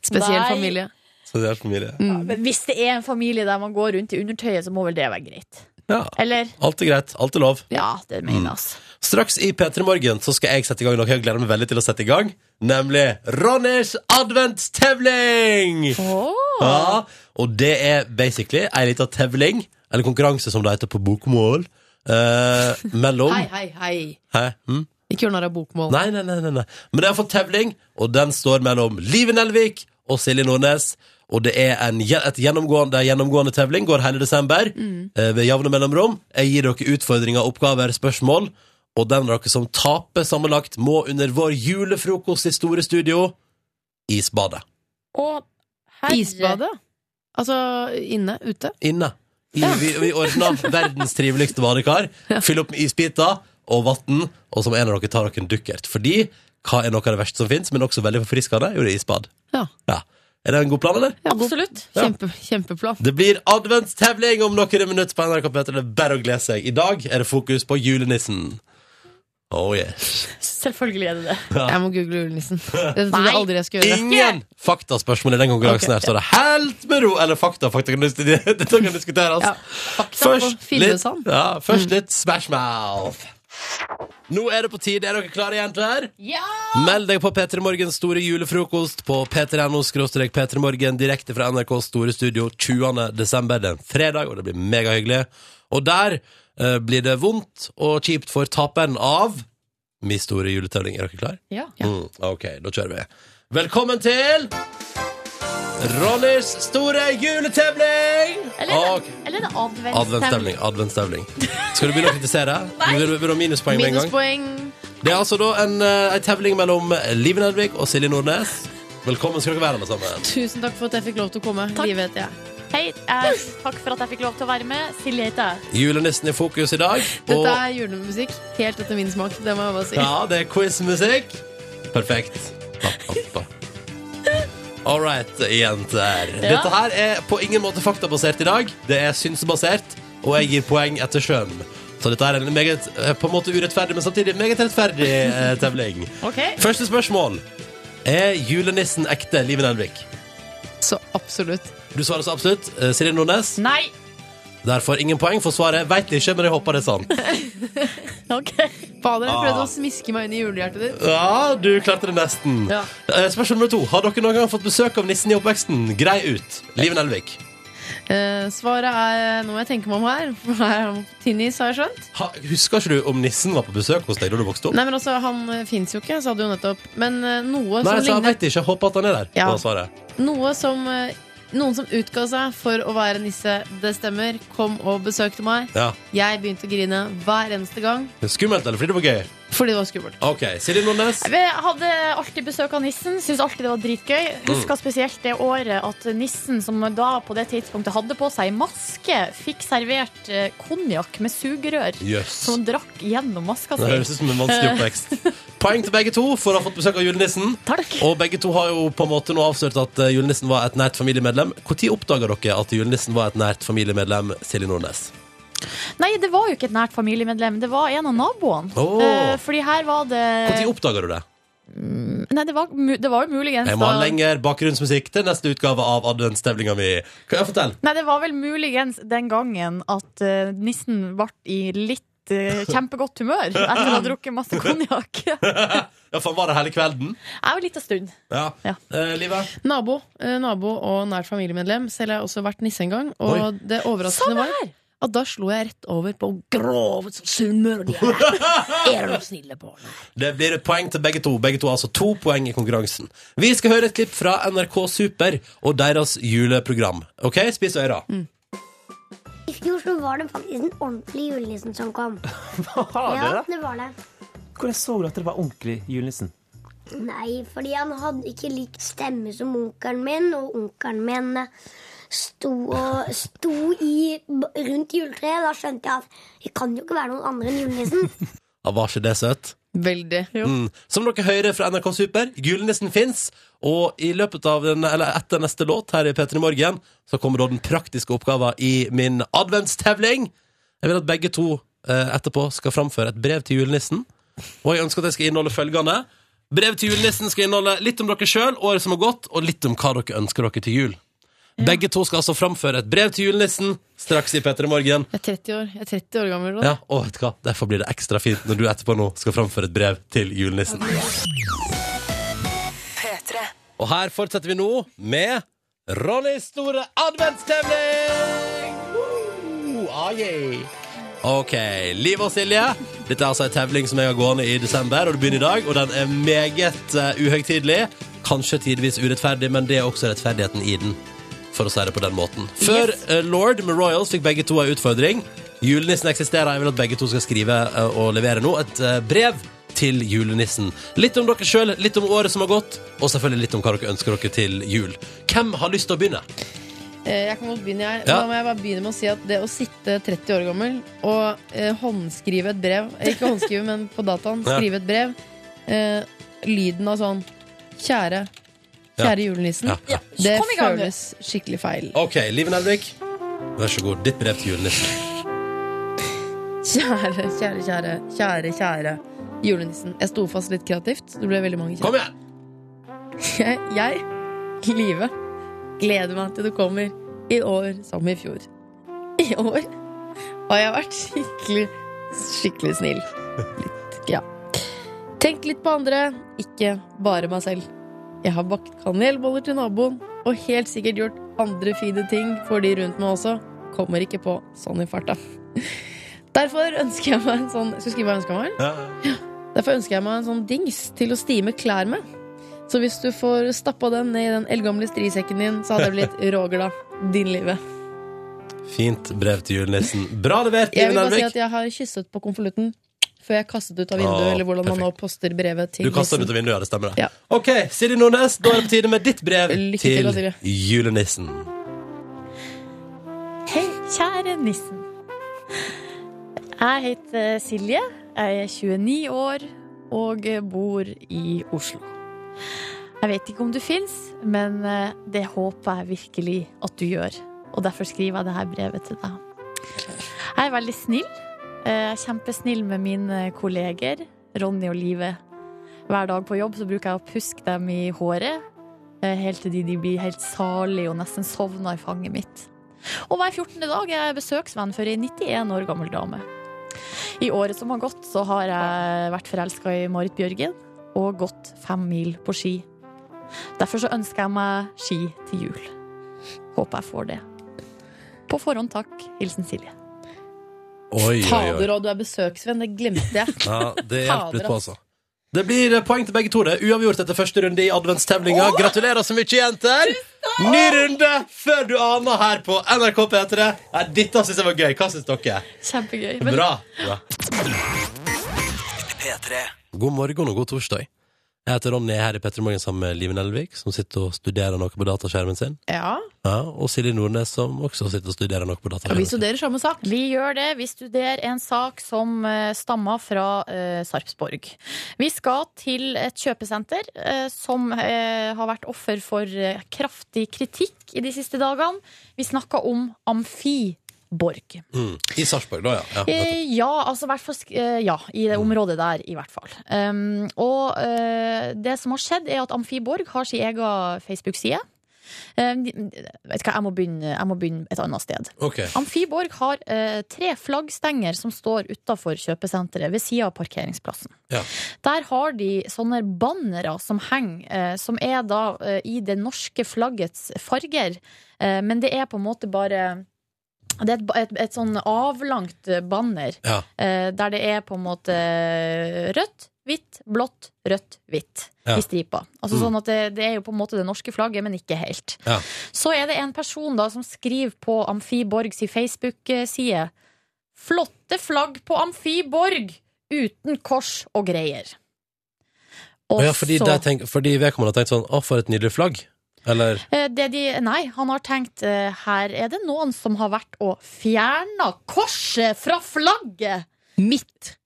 D: Spesiell
C: Nei.
D: familie.
B: Så det er for mye,
D: Mm.
B: det.
C: Men hvis det er en familie der man går rundt i undertøyet, så må vel det være greit?
B: Ja.
C: Eller?
B: Alt er greit. Alt er lov.
C: Ja, det
B: mm.
C: mener jeg, altså.
B: Straks i P3 Morgen så skal jeg sette i gang noe jeg gleder meg veldig til å sette i gang. Nemlig Ronnys adventstevling! Ja, og det er basically ei lita tevling, eller konkurranse som det heter på bokmål, eh, mellom
D: Hei, hei, hei.
B: Hæ? Hm?
D: Ikke gjør narr av bokmål.
B: Nei, nei, nei, nei, nei. Men det er for tevling, og den står mellom Live Nelvik og Silje Nordnes. Og det er en, gje- et gjennomgående, det er gjennomgående tevling, går hele desember. eh, Ved jevne mellomrom. Jeg gir dere utfordringer, oppgaver, spørsmål. Og den av dere som taper sammenlagt, må under vår julefrokost i Store Studio isbade.
C: Og herre-
D: Isbadet? Altså inne? Ute?
B: Inne. I, vi, vi ordner verdens triveligste badekar. Fyll opp med isbiter og vann, og så må en av dere ta dere en dukkert. Fordi hva er noe av det verste som fins, men også veldig forfriskende? Jo, det er isbad.
D: Ja.
B: Ja. Er det en god plan, eller?
D: ja god-
C: Absolutt.
B: Ja.
D: Kjempe, kjempeplan.
B: Det blir adventstevling om noen minutter på NRK P3. Det er bare å glede seg. I dag er det fokus på julenissen. Oh yes.
C: Selvfølgelig er det det.
D: Jeg må google julenissen. Det trodde jeg
C: Nei.
D: aldri jeg skulle gjøre.
B: Ingen faktaspørsmål i den konkurransen
D: Ok,
B: her. Står det helt med ro Eller fakta, fakta kan, dis- dette kan diskuteres.
D: Ja, fakta på Mm.
B: litt,
D: Finnesand.
B: ja, først litt Smash Mouth. Nå er det på tide. Er dere klare, jenter?
C: Ja!
B: Meld deg på P3 Morgens store julefrokost på p3.no P3 Morgen direkte fra NRK store studio 20. desember. Det er en fredag, og det blir megahyggelig. Og der eh, blir det vondt og kjipt for taperen av Min store juletevling. Er dere klare?
C: Ja.
B: Mm, ok, da kjører vi. Velkommen til Ronnys store juletevling!
C: Eller, er
B: Ok.
C: det- eller er det adventstemning?
B: Adventsstevling. adventsstevling. Skal du begynne å kritisere? Vil du, vil du ha minuspoeng med en gang?
D: Minuspoeng.
B: Det er altså da en, eh, en tevling mellom Liv Nelvik og Silje Nordnes. Velkommen skal dere være alle sammen.
D: Tusen takk for at jeg fikk lov til å komme.
C: Takk.
D: Livet heter jeg.
C: Hei, eh, takk for at jeg fikk lov til å være med. Silje heter jeg.
B: Julenissen i fokus i dag. Og
D: Dette er julemusikk helt etter min smak. Det må jeg bare si.
B: ja, det er quizmusikk. Perfekt. Papp, papp, papp. All right, jenter.
C: Ja.
B: Dette her er på ingen måte faktabasert i dag. Det er synsbasert, og jeg gir poeng etter skjønn. Så dette er en meget, eh, på en måte urettferdig, men samtidig meget rettferdig eh, tevling.
C: Ok.
B: Første spørsmål. Er julenissen ekte, Liv Nelvik?
D: Så absolutt.
B: Du svarer så absolutt. Eh, Silje Nordnes.
C: Nei.
B: Derfor ingen poeng for svaret. Veit ikke, men jeg håper det er sant.
C: Ok.
D: Fader, jeg
B: Ah.
D: prøvde å smiske meg inn i julehjertet ditt.
B: Ja, du klarte det nesten.
D: Ja.
B: Eh, Spørsmål nummer to. Har dere noen gang fått besøk av nissen i oppveksten? Grei ut. Liv Nelvik.
D: Eh, svaret er Nå må jeg tenke meg om her. For her er han på tynn is, har jeg skjønt.
B: Ha, husker ikke du om nissen var på besøk hos deg da du vokste opp?
D: Nei, men altså, Han fins jo ikke, sa du jo nettopp. Men eh,
B: Nei,
D: noe som
B: så jeg
D: ligner
B: veit ikke. Jeg håper at han er der.
D: Ja.
B: var svaret.
D: Noe som eh, Noen som utga seg for å være nisse, det stemmer, kom og besøkte meg.
B: Ja.
D: Jeg begynte å grine hver eneste gang
B: Skummelt eller fordi det var gøy?
D: fordi det var skummelt.
B: OK. Silje Nordnes.
C: Vi hadde alltid besøk av nissen. Syns alltid det var dritgøy.
B: Mm.
C: Husker spesielt det året at nissen, som da på det tidspunktet hadde på seg maske, fikk servert eh, konjakk med sugerør.
B: Jøs.
C: Som han drakk gjennom maska
B: Det høres ut
C: si.
B: som en vanskelig oppvekst. Poeng til begge to for å ha fått besøk av julenissen.
C: Takk.
B: Og begge to har jo på en måte nå avslørt at eh, julenissen var et nært familiemedlem. Når oppdaga dere at julenissen var et nært familiemedlem? Silje Nordnes.
C: Nei, det var jo ikke et nært familiemedlem. Det var en av naboene.
B: Åh.
C: Eh, fordi her var det
D: Eh.
B: Når oppdaga du det?
C: Nei, det var, mu- det var jo muligens
B: Jeg må ha
C: da-
B: lenger bakgrunnsmusikk til neste utgave av adventstevlinga mi. Kan jeg fortelle?
C: Nei, det var vel muligens den gangen at eh, nissen ble i litt litt eh, kjempegodt humør etter å ha drukket masse konjakk.
B: Ja, for var det hele kvelden?
C: Jeg var litt av stund.
B: Ja.
C: Ja.
B: Eh, Live?
D: Nabo, eh, nabo og nært familiemedlem. Selv har jeg også vært nisse en gang. Og
B: Oi.
D: det
C: Sånn
D: overraskende var at da slo jeg rett over på grove sånn sunnmøre. de er. Er de snille på
B: Det blir et poeng til begge to. Begge to har altså to poeng i konkurransen. Vi skal høre et klipp fra NRK Super og deres juleprogram. OK, spis øra.
G: I fjor så var det faktisk en ordentlig julenissen som kom.
H: Har
G: Ja, det var det.
H: Hvordan så du at det var ordentlig julenissen?
G: Nei, fordi han hadde ikke lik stemme som onkelen min, og onkelen min eh, sto, og, sto i, b- rundt juletreet. Da skjønte jeg at jeg kan jo ikke være noen andre enn julenissen.
B: Ja, var ikke det søtt?
D: Veldig.
B: Mm. Som dere hører fra NRK Super, julenissen fins. Og i løpet av den, eller etter neste låt her i P3 Morgen, så kommer da den praktiske oppgaven i min adventstevling. Jeg vil at begge to eh, etterpå skal framføre et brev til julenissen. Og jeg ønsker at det skal inneholde følgende. Brev til julenissen skal inneholde litt om dere sjøl, året som har gått, og litt om hva dere ønsker dere til jul. Begge to skal altså framføre et brev til julenissen straks i P3 Morgen.
D: Jeg er 30 år, jeg er 30 år gammel. da.
B: Ja, og vet du hva? Derfor blir det ekstra fint når du etterpå nå skal framføre et brev til julenissen. Og her fortsetter vi nå med Ronnys store adventstevling! Woo! Ah, yeah. Ok, Liv og Silje, dette er altså en tevling som jeg har gående i desember, og det begynner i dag, og den er meget eh, uhøytidelig. Kanskje tidvis urettferdig, men det er også rettferdigheten i den, for å si det på den måten. Før eh, Lord med Royals fikk begge to en utfordring. Julenissen eksisterer, jeg vil at begge to skal skrive eh, og levere nå et eh, brev til julenissen. Litt om dere sjøl, litt om året som har gått, og selvfølgelig litt om hva dere ønsker dere til jul. Hvem har lyst til å begynne?
D: Eh, Jeg kan godt begynne, jeg.
B: Ja.
D: Da må jeg bare begynne med å si at det å sitte 30 år gammel og eh, håndskrive et brev eh, Ikke håndskrive, men på dataen.
B: Ja.
D: Skrive et brev. Eh, lyden av sånn Kjære.
B: Ja.
D: Kjære julenissen.
B: Ja. ja.
D: Det
C: Kom i gang, du.
D: føles skikkelig feil.
B: OK, Liv Nelvik. Vær så god. Ditt brev til julenissen.
D: Kjære, kjære, kjære, kjære, kjære julenissen. Jeg sto fast litt kreativt. Det ble veldig mange
B: Kom
D: kjære.
B: igjen!
D: Jeg, jeg Live, gleder meg til du kommer i år som i fjor. I år har jeg vært skikkelig, skikkelig snill. Litt, ja. Tenk litt på andre, ikke bare meg selv. Jeg har bakt kanelboller til naboen, og helt sikkert gjort andre fine ting for de rundt meg også. Kommer ikke på sånn i farta. Derfor ønsker jeg meg en sånn Skal jeg skrive hva jeg ønsker meg? Derfor ønsker jeg meg en sånn dings til å stime klær med. Så hvis du får stappa den ned i den eldgamle strisekken din, så hadde jeg blitt råglad. Din livet.
B: Fint brev til julenissen. Bra levert,
D: Jeg
B: Liv
D: vil bare si
B: Nelvik.
D: at jeg har kysset på konvolutten før jeg kastet ut av vinduet,
B: Å,
D: eller hvordan man nå
B: perfekt.
D: poster brevet til
B: Du kaster den ut
D: nissen.
B: av vinduet, ja. Det stemmer. det
D: Ja.
B: OK, Siri Nordnes, da er det på tide med ditt brev
D: Lykke til,
B: til
D: da, Silje.
B: julenissen.
C: Hei, kjære nissen. Jeg heter Silje. Jeg er 29 år og eh, bor i Oslo. Jeg vet ikke om du fins, men eh, det håper jeg virkelig at du gjør. Og derfor skriver jeg dette brevet til deg. Jeg er veldig snill. Eh, Jeg er kjempesnill med mine kolleger, Ronny og Live. Hver dag på jobb så bruker jeg å puske dem i håret, eh, helt til de de blir helt salige og nesten sovner i fanget mitt. Og hver 14. dag er jeg besøksvenn for ei 91 år gammel dame. I året som har gått, så har jeg vært forelska i Marit Bjørgen og gått fem mil på ski. Derfor så ønsker jeg meg ski til jul. Håper jeg får det. På forhånd takk. Hilsen Silje.
B: Oi, oi, oi.
D: Fader, og du er besøksvenn. Det glemte jeg.
B: Ja, det hjelper litt
D: Fader,
B: på, altså. Det blir poeng til begge to. det Uavgjort etter første runde i adventstevlinga. Gratulerer så mye, jenter! Ny runde før du aner her på NRK P3. Ja, dette syns jeg var gøy. Hva syns dere?
C: Kjempegøy. Men
B: Bra. Bra. God morgen og god torsdag. Jeg heter Ronny jeg er her i P3 Morgen sammen med Liven Elvik, som sitter og studerer noe på dataskjermen sin.
D: Ja,
B: Ja, og Silje Nordnes, som også sitter og studerer noe på
D: Vi
B: dataskjermen sin.
D: studerer samme sak.
C: Vi gjør det. Vi studerer en sak som eh, stammer fra eh, Sarpsborg. Vi skal til et kjøpesenter eh, som eh, har vært offer for eh, kraftig kritikk i de siste dagene. Vi snakker om Amfiborg.
B: Mm. I Sarpsborg, da, ja. ja.
C: Eh, ja, altså hvert fall, sk- eh, ja, i det området der, i hvert fall. Ehm, Um, og eh, det som har skjedd, er at Amfiborg har sin egen Facebook-side. Eh, vet du hva, jeg må, begynne, jeg må begynne et annet sted.
B: Ok.
C: Amfiborg har eh, tre flaggstenger som står utafor kjøpesenteret, ved sida av parkeringsplassen.
B: Ja.
C: Der har de sånne bannere som henger, eh, som er da eh, i det norske flaggets farger, eh, men det er på en måte bare det er et, ba- et, et sånn avlangt eh, banner
B: Ja.
C: eh, der det er på en måte rødt, hvitt, blått, rødt, hvitt
B: Ja. Mm.
C: i stripa. Altså sånn at det, det er jo på en måte det norske flagget, men ikke helt.
B: Ja.
C: Så er det en person da som skriver på Amfiborgs Facebook-side Flotte flagg på Amfiborg uten kors og greier. Og
B: Og ja, fordi,
C: så-
B: de tenk, fordi vedkommende har tenkt sånn Å, for et nydelig flagg. Eller
C: Eh, Det de, nei, han har tenkt eh, her er det noen som har vært og fjerna korset fra flagget!
D: Mitt.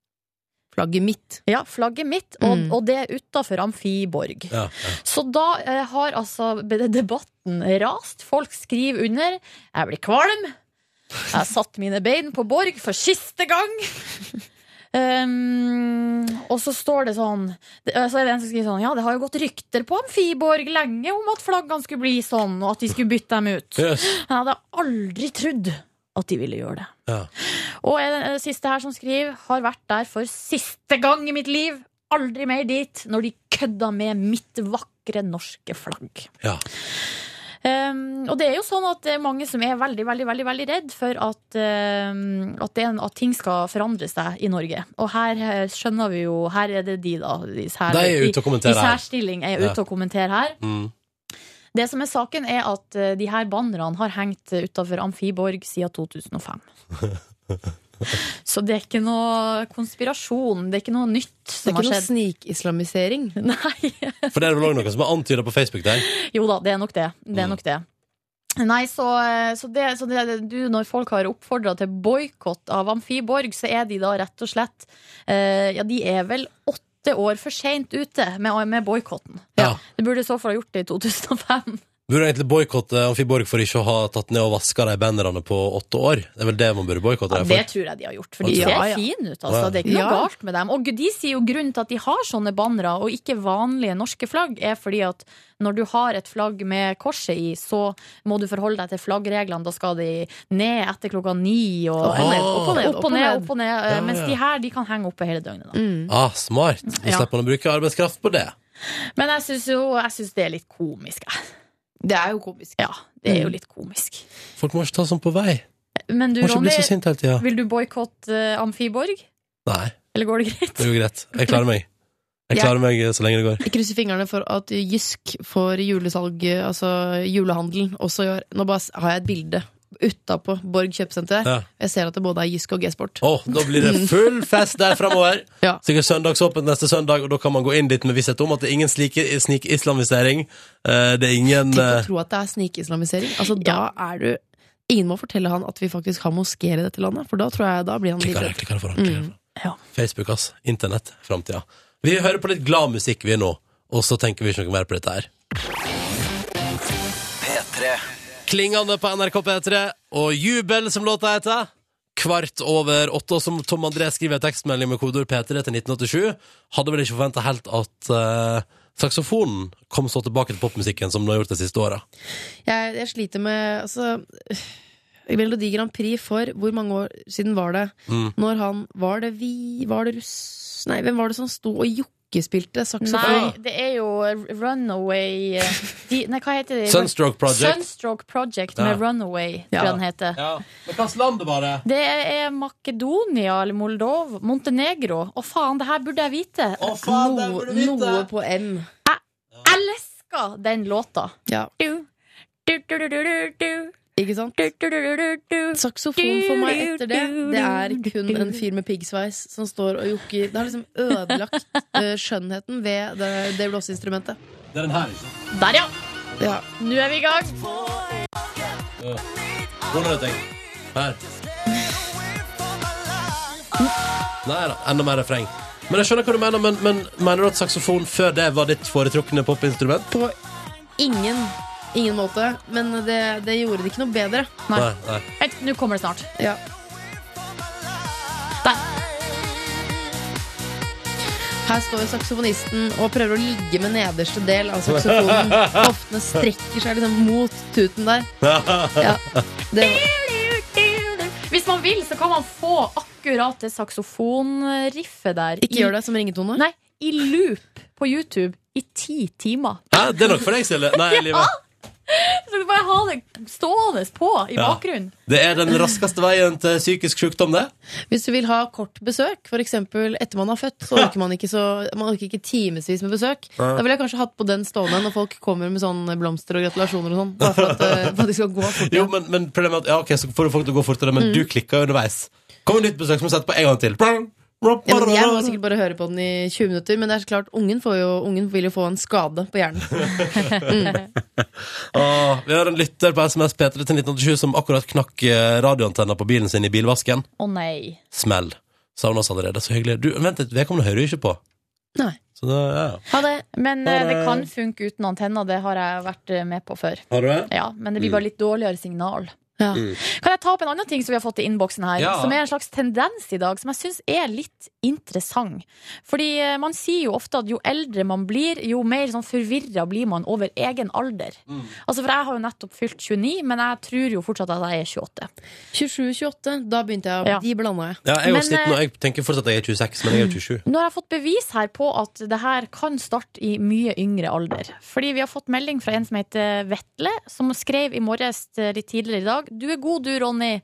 D: Flagget mitt.
C: Ja, flagget mitt, og,
D: Mm.
C: og det er utafor Amfiborg.
B: ja,
C: Så da eh, har altså be- debatten rast. Folk skriver under. Jeg blir kvalm. Jeg har satt mine bein på Borg for siste gang. Um, og så står det sånn det, Så er det en som skriver sånn Ja, det har jo gått rykter på Amfiborg lenge om at flaggene skulle bli sånn, og at de skulle bytte dem ut.
B: Yes.
C: Jeg hadde aldri trodd at de ville gjøre det.
B: Ja.
C: Og en, en siste her som skriver Har vært der for siste gang i mitt liv Aldri mer dit Når de kødda med mitt vakre norske flagg
B: ja.
C: Ehm, Og det er jo sånn at det er mange som er veldig, veldig, veldig, veldig redd For at, ehm, at, det, er en- at ting skal forandre seg i Norge Og her eh, skjønner vi jo Her er det de da De, sær,
B: De er ute og
C: de, de
B: kommenterer her.
C: særstilling er
B: Ja.
C: ute og kommenterer her
B: Mm.
C: Det som er saken er at eh, de her bannerne har hengt eh, utenfor Amfiborg siden 2005. Så det er ikke noe konspirasjon, det er ikke noe nytt
D: Det er
C: som
D: ikke
C: har
D: noe
C: skjedd.
D: snikislamisering.
C: Nei,
B: For det er vel også noe som er antyda på Facebook der.
C: jo da, det er nok det. Det
B: Mm.
C: er nok det. Nei, så, eh, så, det, så det, du, når folk har oppfordra til boikott av Amfiborg, så er de da rett og slett eh, Ja, de er vel åtte år for seint ute med, med boikotten.
B: Ja.
C: De burde i så fall ha gjort det i 2005.
B: Burde egentlig boikotte Amfiborg for ikke å ha tatt ned og vaska de bannerne på åtte år. Det er vel det man burde boikotte
C: Ja,
B: dem
C: det
B: for.
C: tror jeg de har gjort, for de
D: Ja,
C: ser
D: ja.
C: fine ut.
B: Ja,
C: Altså.
B: ja.
C: Det er ikke noe
D: Ja.
C: galt med dem. Og de sier jo grunnen til at de har sånne bannere og ikke vanlige norske flagg, er fordi at når du har et flagg med korset i, så må du forholde deg til flaggreglene. Da skal de ned etter klokka ni, og
D: Opp
B: og
C: eller
B: ned,
D: opp og ned,
C: opp og ned, opp og ned.
B: Ja,
C: Mens
B: ja.
C: de her, de kan henge oppe hele døgnet. Da.
D: Mm.
B: Ah, smart. Da
C: Ja.
B: slipper man å bruke arbeidskraft på det.
C: Men jeg syns jo jeg synes det er litt komisk. jeg.
D: Det er jo komisk.
C: Ja, det
B: Mm.
C: er jo litt komisk.
B: Folk må ikke ta sånn på vei.
C: Men du,
B: Må ikke
C: Ronny,
B: bli så sint hele tida.
C: vil du boikotte Amfiborg?
B: Nei,
C: Eller går det greit?
B: det er jo greit. Jeg klarer meg. Jeg
D: Ja.
B: klarer meg så lenge det går.
D: Jeg krysser fingrene for at Jysk får julesalg, altså julehandelen, også i år. Nå bare s- har jeg et bilde utapå Borg kjøpesenter.
B: Ja.
D: Jeg ser at det både er Jysk og G-sport.
B: Åh, da blir det full fest der framover.
D: Ja.
B: Sikkert søndagsåpent neste søndag, og da kan man gå inn dit med visshet om at det er ingen slike, snikislamisering. Eh, Det er ingen
D: Tenk å
B: eh,
D: tro at det er snikislamisering. Altså, da er du Ingen må fortelle han at vi faktisk har moskeer i dette landet, for da tror jeg da blir han
B: Klikker det,
D: livredd.
B: klikker det foran. klikker det
D: Mm.
B: foran.
C: Ja.
B: Facebook, ass. Internett. Framtida. Vi hører på litt glad musikk, vi nå, og så tenker vi ikke noe mer på dette her. Klingende på NRK P3, og Jubel, som låta heter. Kvart over åtte, og som Tom André skriver i en tekstmelding med kodeord P3 til 1987, hadde vel ikke forventa helt at eh, saksofonen kom så tilbake til popmusikken som den har gjort de siste åra.
D: Jeg, jeg sliter med altså, Melodi Grand Prix for hvor mange år siden var det?
B: Mm.
D: Når han Var det vi? Var det russ? Nei, hvem var det som sto og jokkespilte saksofon?
C: Nei, det er jo Runaway eh, de, Nei, hva heter det?
B: Sunstroke Project.
C: Sunstroke Project
B: Ja.
C: med Runaway, tror
D: Ja.
C: jeg den heter.
B: Ja, Men hvilket land var det?
C: Det er Makedonia eller Moldova. Montenegro. Å faen, det her burde jeg vite.
B: Å, faen, det
D: No,
B: burde du vite!
D: noe på M.
C: Elsker den låta.
D: Ja,
C: Du, du, du, du, du, du,
D: ikke sant?
C: du, du, du, du, du.
D: Saksofon for meg etter det, det er kun en fyr med piggsveis som står og jokker. Det har liksom ødelagt eh, skjønnheten ved det, det blåseinstrumentet.
B: Det er den her, ikke
C: Der, ja!
D: Ja.
C: Nå er vi i gang.
B: Hvor er det, tenk? Her. Nei da, enda mer refreng. Men jeg skjønner hva du mener, men, men mener du at saksofon før det var ditt foretrukne popinstrument?
D: På ingen, ingen måte. Men det, det gjorde det ikke noe bedre.
C: Nei.
B: nei.
C: Vent, nå kommer det snart.
D: Ja.
C: Der.
D: Her står jo saksofonisten og prøver å ligge med nederste del av saksofonen. Hoftene strekker seg liksom mot tuten der. Ja, det,
C: Hvis man vil, så kan man få akkurat det saksofonriffet der.
D: ikke gjør det som ringetone.
C: Nei, i loop på YouTube i ti timer.
B: Hæ, det er nok for deg, Silje. Nei, livet.
C: Så du bare ha det stående på i
B: Ja.
C: bakgrunnen.
B: Det er den raskeste veien til psykisk sykdom, det.
D: Hvis du vil ha kort besøk, f.eks. etter man har født, så orker man ikke, så, man orker ikke timevis med besøk.
B: Nei.
D: Da ville jeg kanskje hatt på den stående når folk kommer med sånn blomster og gratulasjoner og sånn. Bare for at, eh, for at de skal gå fort.
B: Jo, men, men problemet er at ja, ok, så får du folk til å gå fortere,
D: Mm.
B: men du klikker underveis. Kommer nytt besøk, så må du sette på en gang til.
D: Ja, men jeg må sikkert bare høre på den i 20 minutter, men det er så klart, ungen, får jo, ungen vil jo få en skade på hjernen.
B: Åh, vi har en lytter på SMS P3 til 1987 som akkurat knakk eh, radioantenna på bilen sin i bilvasken.
C: Å nei.
B: Smell. Savner oss allerede. Så hyggelig. Du, vent litt, vedkommende hører jo ikke på.
D: Nei.
B: Så da, ja.
D: Ha det.
C: Men eh, det kan funke uten antenner. Det har jeg vært eh, med på før.
B: Har du det?
C: Ja, Men det blir bare litt dårligere signal. Mm.
D: Ja.
C: Kan jeg ta opp en annen ting som vi har fått i innboksen her,
B: Ja.
C: som er en slags tendens i dag, som jeg syns er litt interessant. Fordi eh, man sier jo ofte at jo eldre man blir, jo mer sånn forvirra blir man over egen alder. Altså, For jeg har jo nettopp fylt 29, men jeg tror jo fortsatt at jeg er 28.
D: 27-28, da begynte jeg å
C: Ja.
D: De blanda jeg.
B: Ja, jeg er jo
C: Men,
B: sliten, og jeg tenker fortsatt at jeg er 26, men jeg er jo 27.
C: Nå har jeg fått bevis her på at det her kan starte i mye yngre alder. Fordi vi har fått melding fra en som heter Vetle, som skrev i morges eh, litt tidligere i dag. Du er god du, Ronny.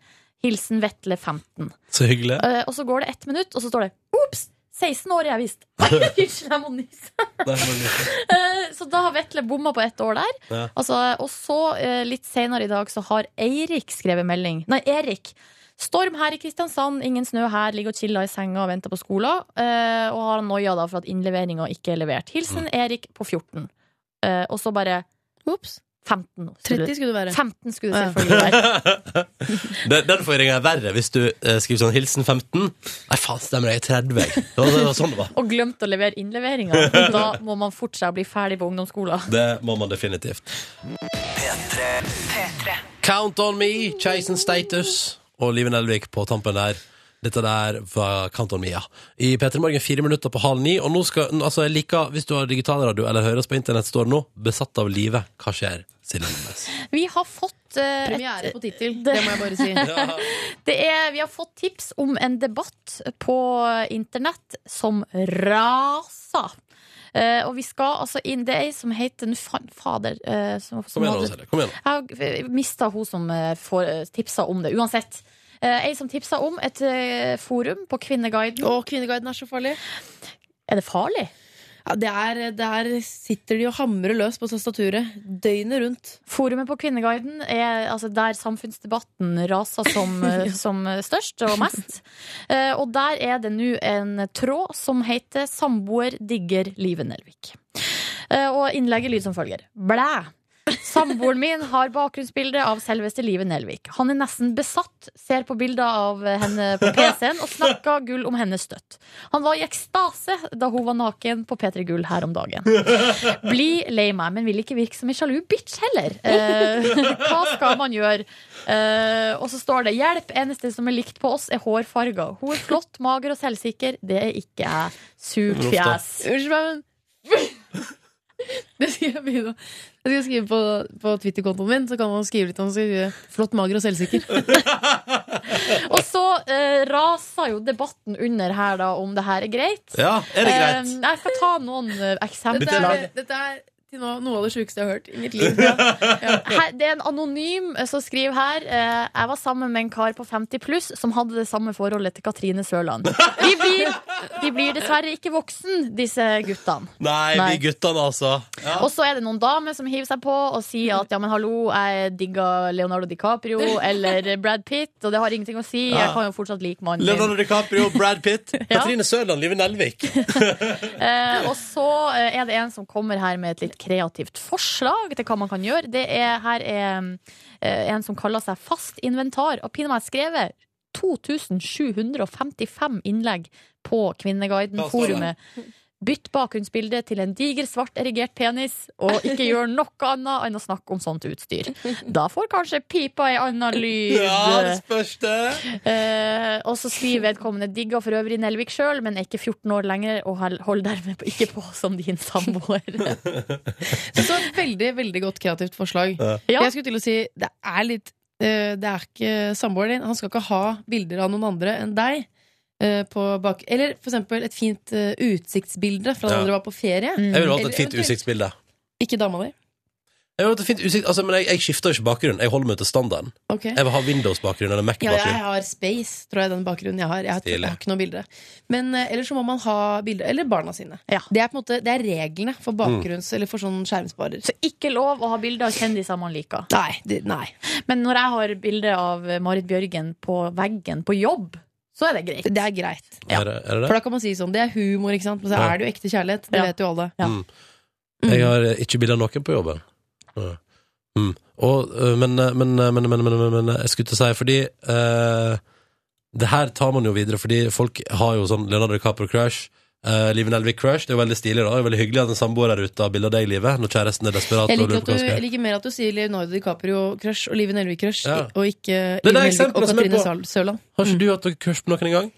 C: Hilsen Vetle 15.
B: Så hyggelig.
C: Eh, Og så går det ett minutt, og så står det Ops! 16 år er jeg visst. Nei, Unnskyld, jeg må nyse.
B: Nei, men-
C: Eh, Så da har Vetle bomma på ett år der.
B: Ja.
C: Altså, og så, eh, litt senere i dag, så har Eirik skrevet melding. Nei, Erik. Storm her i Kristiansand, ingen snø her. Ligger og chiller i senga og venter på skolen. eh, Og har noia da for at innleveringa ikke er levert. Hilsen Erik på 14. Eh, Og så bare
D: Ops.
C: 15. skulle
D: 30 skulle
C: det-
D: du være.
C: 15 skulle det
D: Ja.
C: selvfølgelig være.
B: Den, den forvirringen er verre hvis du eh, skriver sånn 'Hilsen 15'. Nei, faen, stemmer det, jeg er 30. jeg. Det var, det var sånn det var.
C: Og glemt å levere innleveringa. Da må man forte seg å bli ferdig på ungdomsskolen.
B: Det må man definitivt. Count on me, Chasen Status og Liven Elvik på tampen der. Dette der var Count on me, ja. I P3 Morgen fire minutter på halv ni. Og nå skal, altså jeg liker, hvis du har digitalradio eller hører oss på internett, står det nå 'Besatt av livet'. Hva skjer? Silje Nordnes.
C: Vi har fått eh,
D: Premiere på tittel,
C: det-
D: det må jeg bare si.
C: Det er, vi har fått tips om en debatt på internett som raser. Eh, og vi skal altså inn Det er ei som heter Nå, faen, fader eh, som, som
B: Kom igjen nå,
C: hadde-
B: Silje. Kom igjen. nå.
C: jeg mista hun som eh, får eh, tipsa om det. Uansett. Eh, ei som tipsa om et eh, forum på Kvinneguiden.
D: Å, Kvinneguiden er så farlig.
C: Er det farlig?
D: Ja, det er, der sitter de og hamrer løs på tastaturet døgnet rundt.
C: Forumet på Kvinneguiden er altså, der samfunnsdebatten raser som, eh, som størst og mest. Eh, og der er det nå en tråd som heter 'Samboer digger Live Nelvik'. Eh, og innlegget lyd som følger. Blæ! Samboeren min har bakgrunnsbilde av selveste Live Nelvik. Han er nesten besatt, ser på bilder av henne på PC-en og snakker gull om henne støtt. Han var i ekstase da hun var naken på P3 Gull her om dagen. Bli lei meg, men vil ikke virke som en sjalu bitch heller. Eh, hva skal man gjøre? Eh, og så står det 'Hjelp, eneste som er likt på oss, er hårfarga'. Hun er flott, mager og selvsikker. Det er ikke jeg. Sug
B: Uff da.
C: fjes.
D: Unnskyld meg, men Det skal jeg begynne å Jeg skal skrive på, på Twitter-kontoen min, så kan man skrive litt om skrive, flott, mager og selvsikker.
C: Og så eh, raser jo debatten under her da om det her er greit.
B: Ja, er det greit?
C: Eh, jeg skal ta noen eh, eksempler.
D: Dette er, dette er til nå noe av det sjukeste jeg har hørt i mitt liv.
C: her, det er en anonym eh, som skriver her eh, Jeg var sammen med en kar på 50 pluss som hadde det samme forholdet til Katrine Sørland. De blir, de blir dessverre ikke voksen, disse guttene.
B: Nei,
C: Nei.
B: vi guttene, altså. Ja.
C: Og så er det noen damer som hiver seg på og sier at ja, men hallo, jeg digger Leonardo DiCaprio eller Brad Pitt, og det har ingenting å si, jeg kan jo fortsatt like mannen min.
B: Leonardo DiCaprio, Brad Pitt, Katrine Sørland, Live Nelvik.
C: Eh, og så eh, er det en som kommer her med et litt kreativt forslag til hva man kan gjøre. Det er, her er eh, en som kaller seg Fast inventar, og pinadø har skrevet 2755 innlegg på
B: Hva står
C: Kvinneguiden-forumet. Bytt bakgrunnsbilde til en diger, svart erigert penis, og ikke gjør noe annet enn å snakke om sånt utstyr. Da får kanskje pipa ei anna lyd.
B: spørs det.
C: Eh, og så skriver vedkommende digger for øvrig Nelvik sjøl, men er ikke 14 år lenger og hel- holder dermed på- ikke på som din samboer.
D: Så veldig, veldig godt kreativt forslag.
C: Ja.
D: Jeg skulle til å si det er litt eh, Det er ikke samboeren din. Han skal ikke ha bilder av noen andre enn deg. eh, På bak Eller for eksempel et fint eh, utsiktsbilde fra da
B: Ja.
D: dere var på ferie.
C: Mm.
B: Jeg ville valgt
D: Eller
B: et fint
D: eventuelt-
B: utsiktsbilde.
D: Ikke dama di.
B: Jeg ville valgt et fint utsikt, altså, men jeg, jeg skifter jo ikke bakgrunn. Jeg holder meg til standarden.
D: Ok.
B: Jeg vil ha Windows-bakgrunn eller
D: Ja, jeg
B: Mac-bakgrunn.
D: har space, tror jeg, den bakgrunnen jeg har. Jeg har, jeg
B: Stilig.
D: har ikke noe bilde. Men eh, ellers så må man ha bilde. Eller barna sine.
C: Ja.
D: Det er på en måte Det er reglene
B: Mm.
D: for bakgrunns- eller for sånn skjermsparer.
C: Så ikke lov å ha bilder av kjendiser man liker.
D: Nei. Det, nei.
C: Men når jeg har bilde av Marit Bjørgen på veggen på jobb, så er det greit.
D: det er greit.
C: ja.
B: Er, det- er det
D: For
B: det?
D: da kan man si sånn. Det er humor, ikke sant. Men så
B: Ja.
D: er det jo ekte kjærlighet. Det
C: Ja.
D: vet jo alle.
C: Ja.
B: Mm. Jeg har eh, ikke bilde av noen på jobben. Ja. Mm. Og, eh, men, eh, men, eh, men, men, men, men, men jeg skulle til å si fordi eh, Det her tar man jo videre, fordi folk har jo sånn Leonardo DiCaprio-crush. Uh, Live Nelvik-crush. Det er jo veldig stilig. da Det er jo veldig hyggelig at en samboer der ute har bilde av deg i livet når kjæresten er desperat.
D: Jeg
B: og
D: liker,
B: lurer
D: at
B: på hva
D: du,
B: han skal gjøre.
D: jeg liker mer at du sier Leonardo DiCaprio-crush og Live Nelvik-crush,
B: Ja.
D: og ikke
B: det
D: Live Nelvik
B: eksempelet
D: og
B: som er
D: Katrine
B: på-
D: Sal- Sørland.
B: Har ikke du hatt noe crush på noen en gang?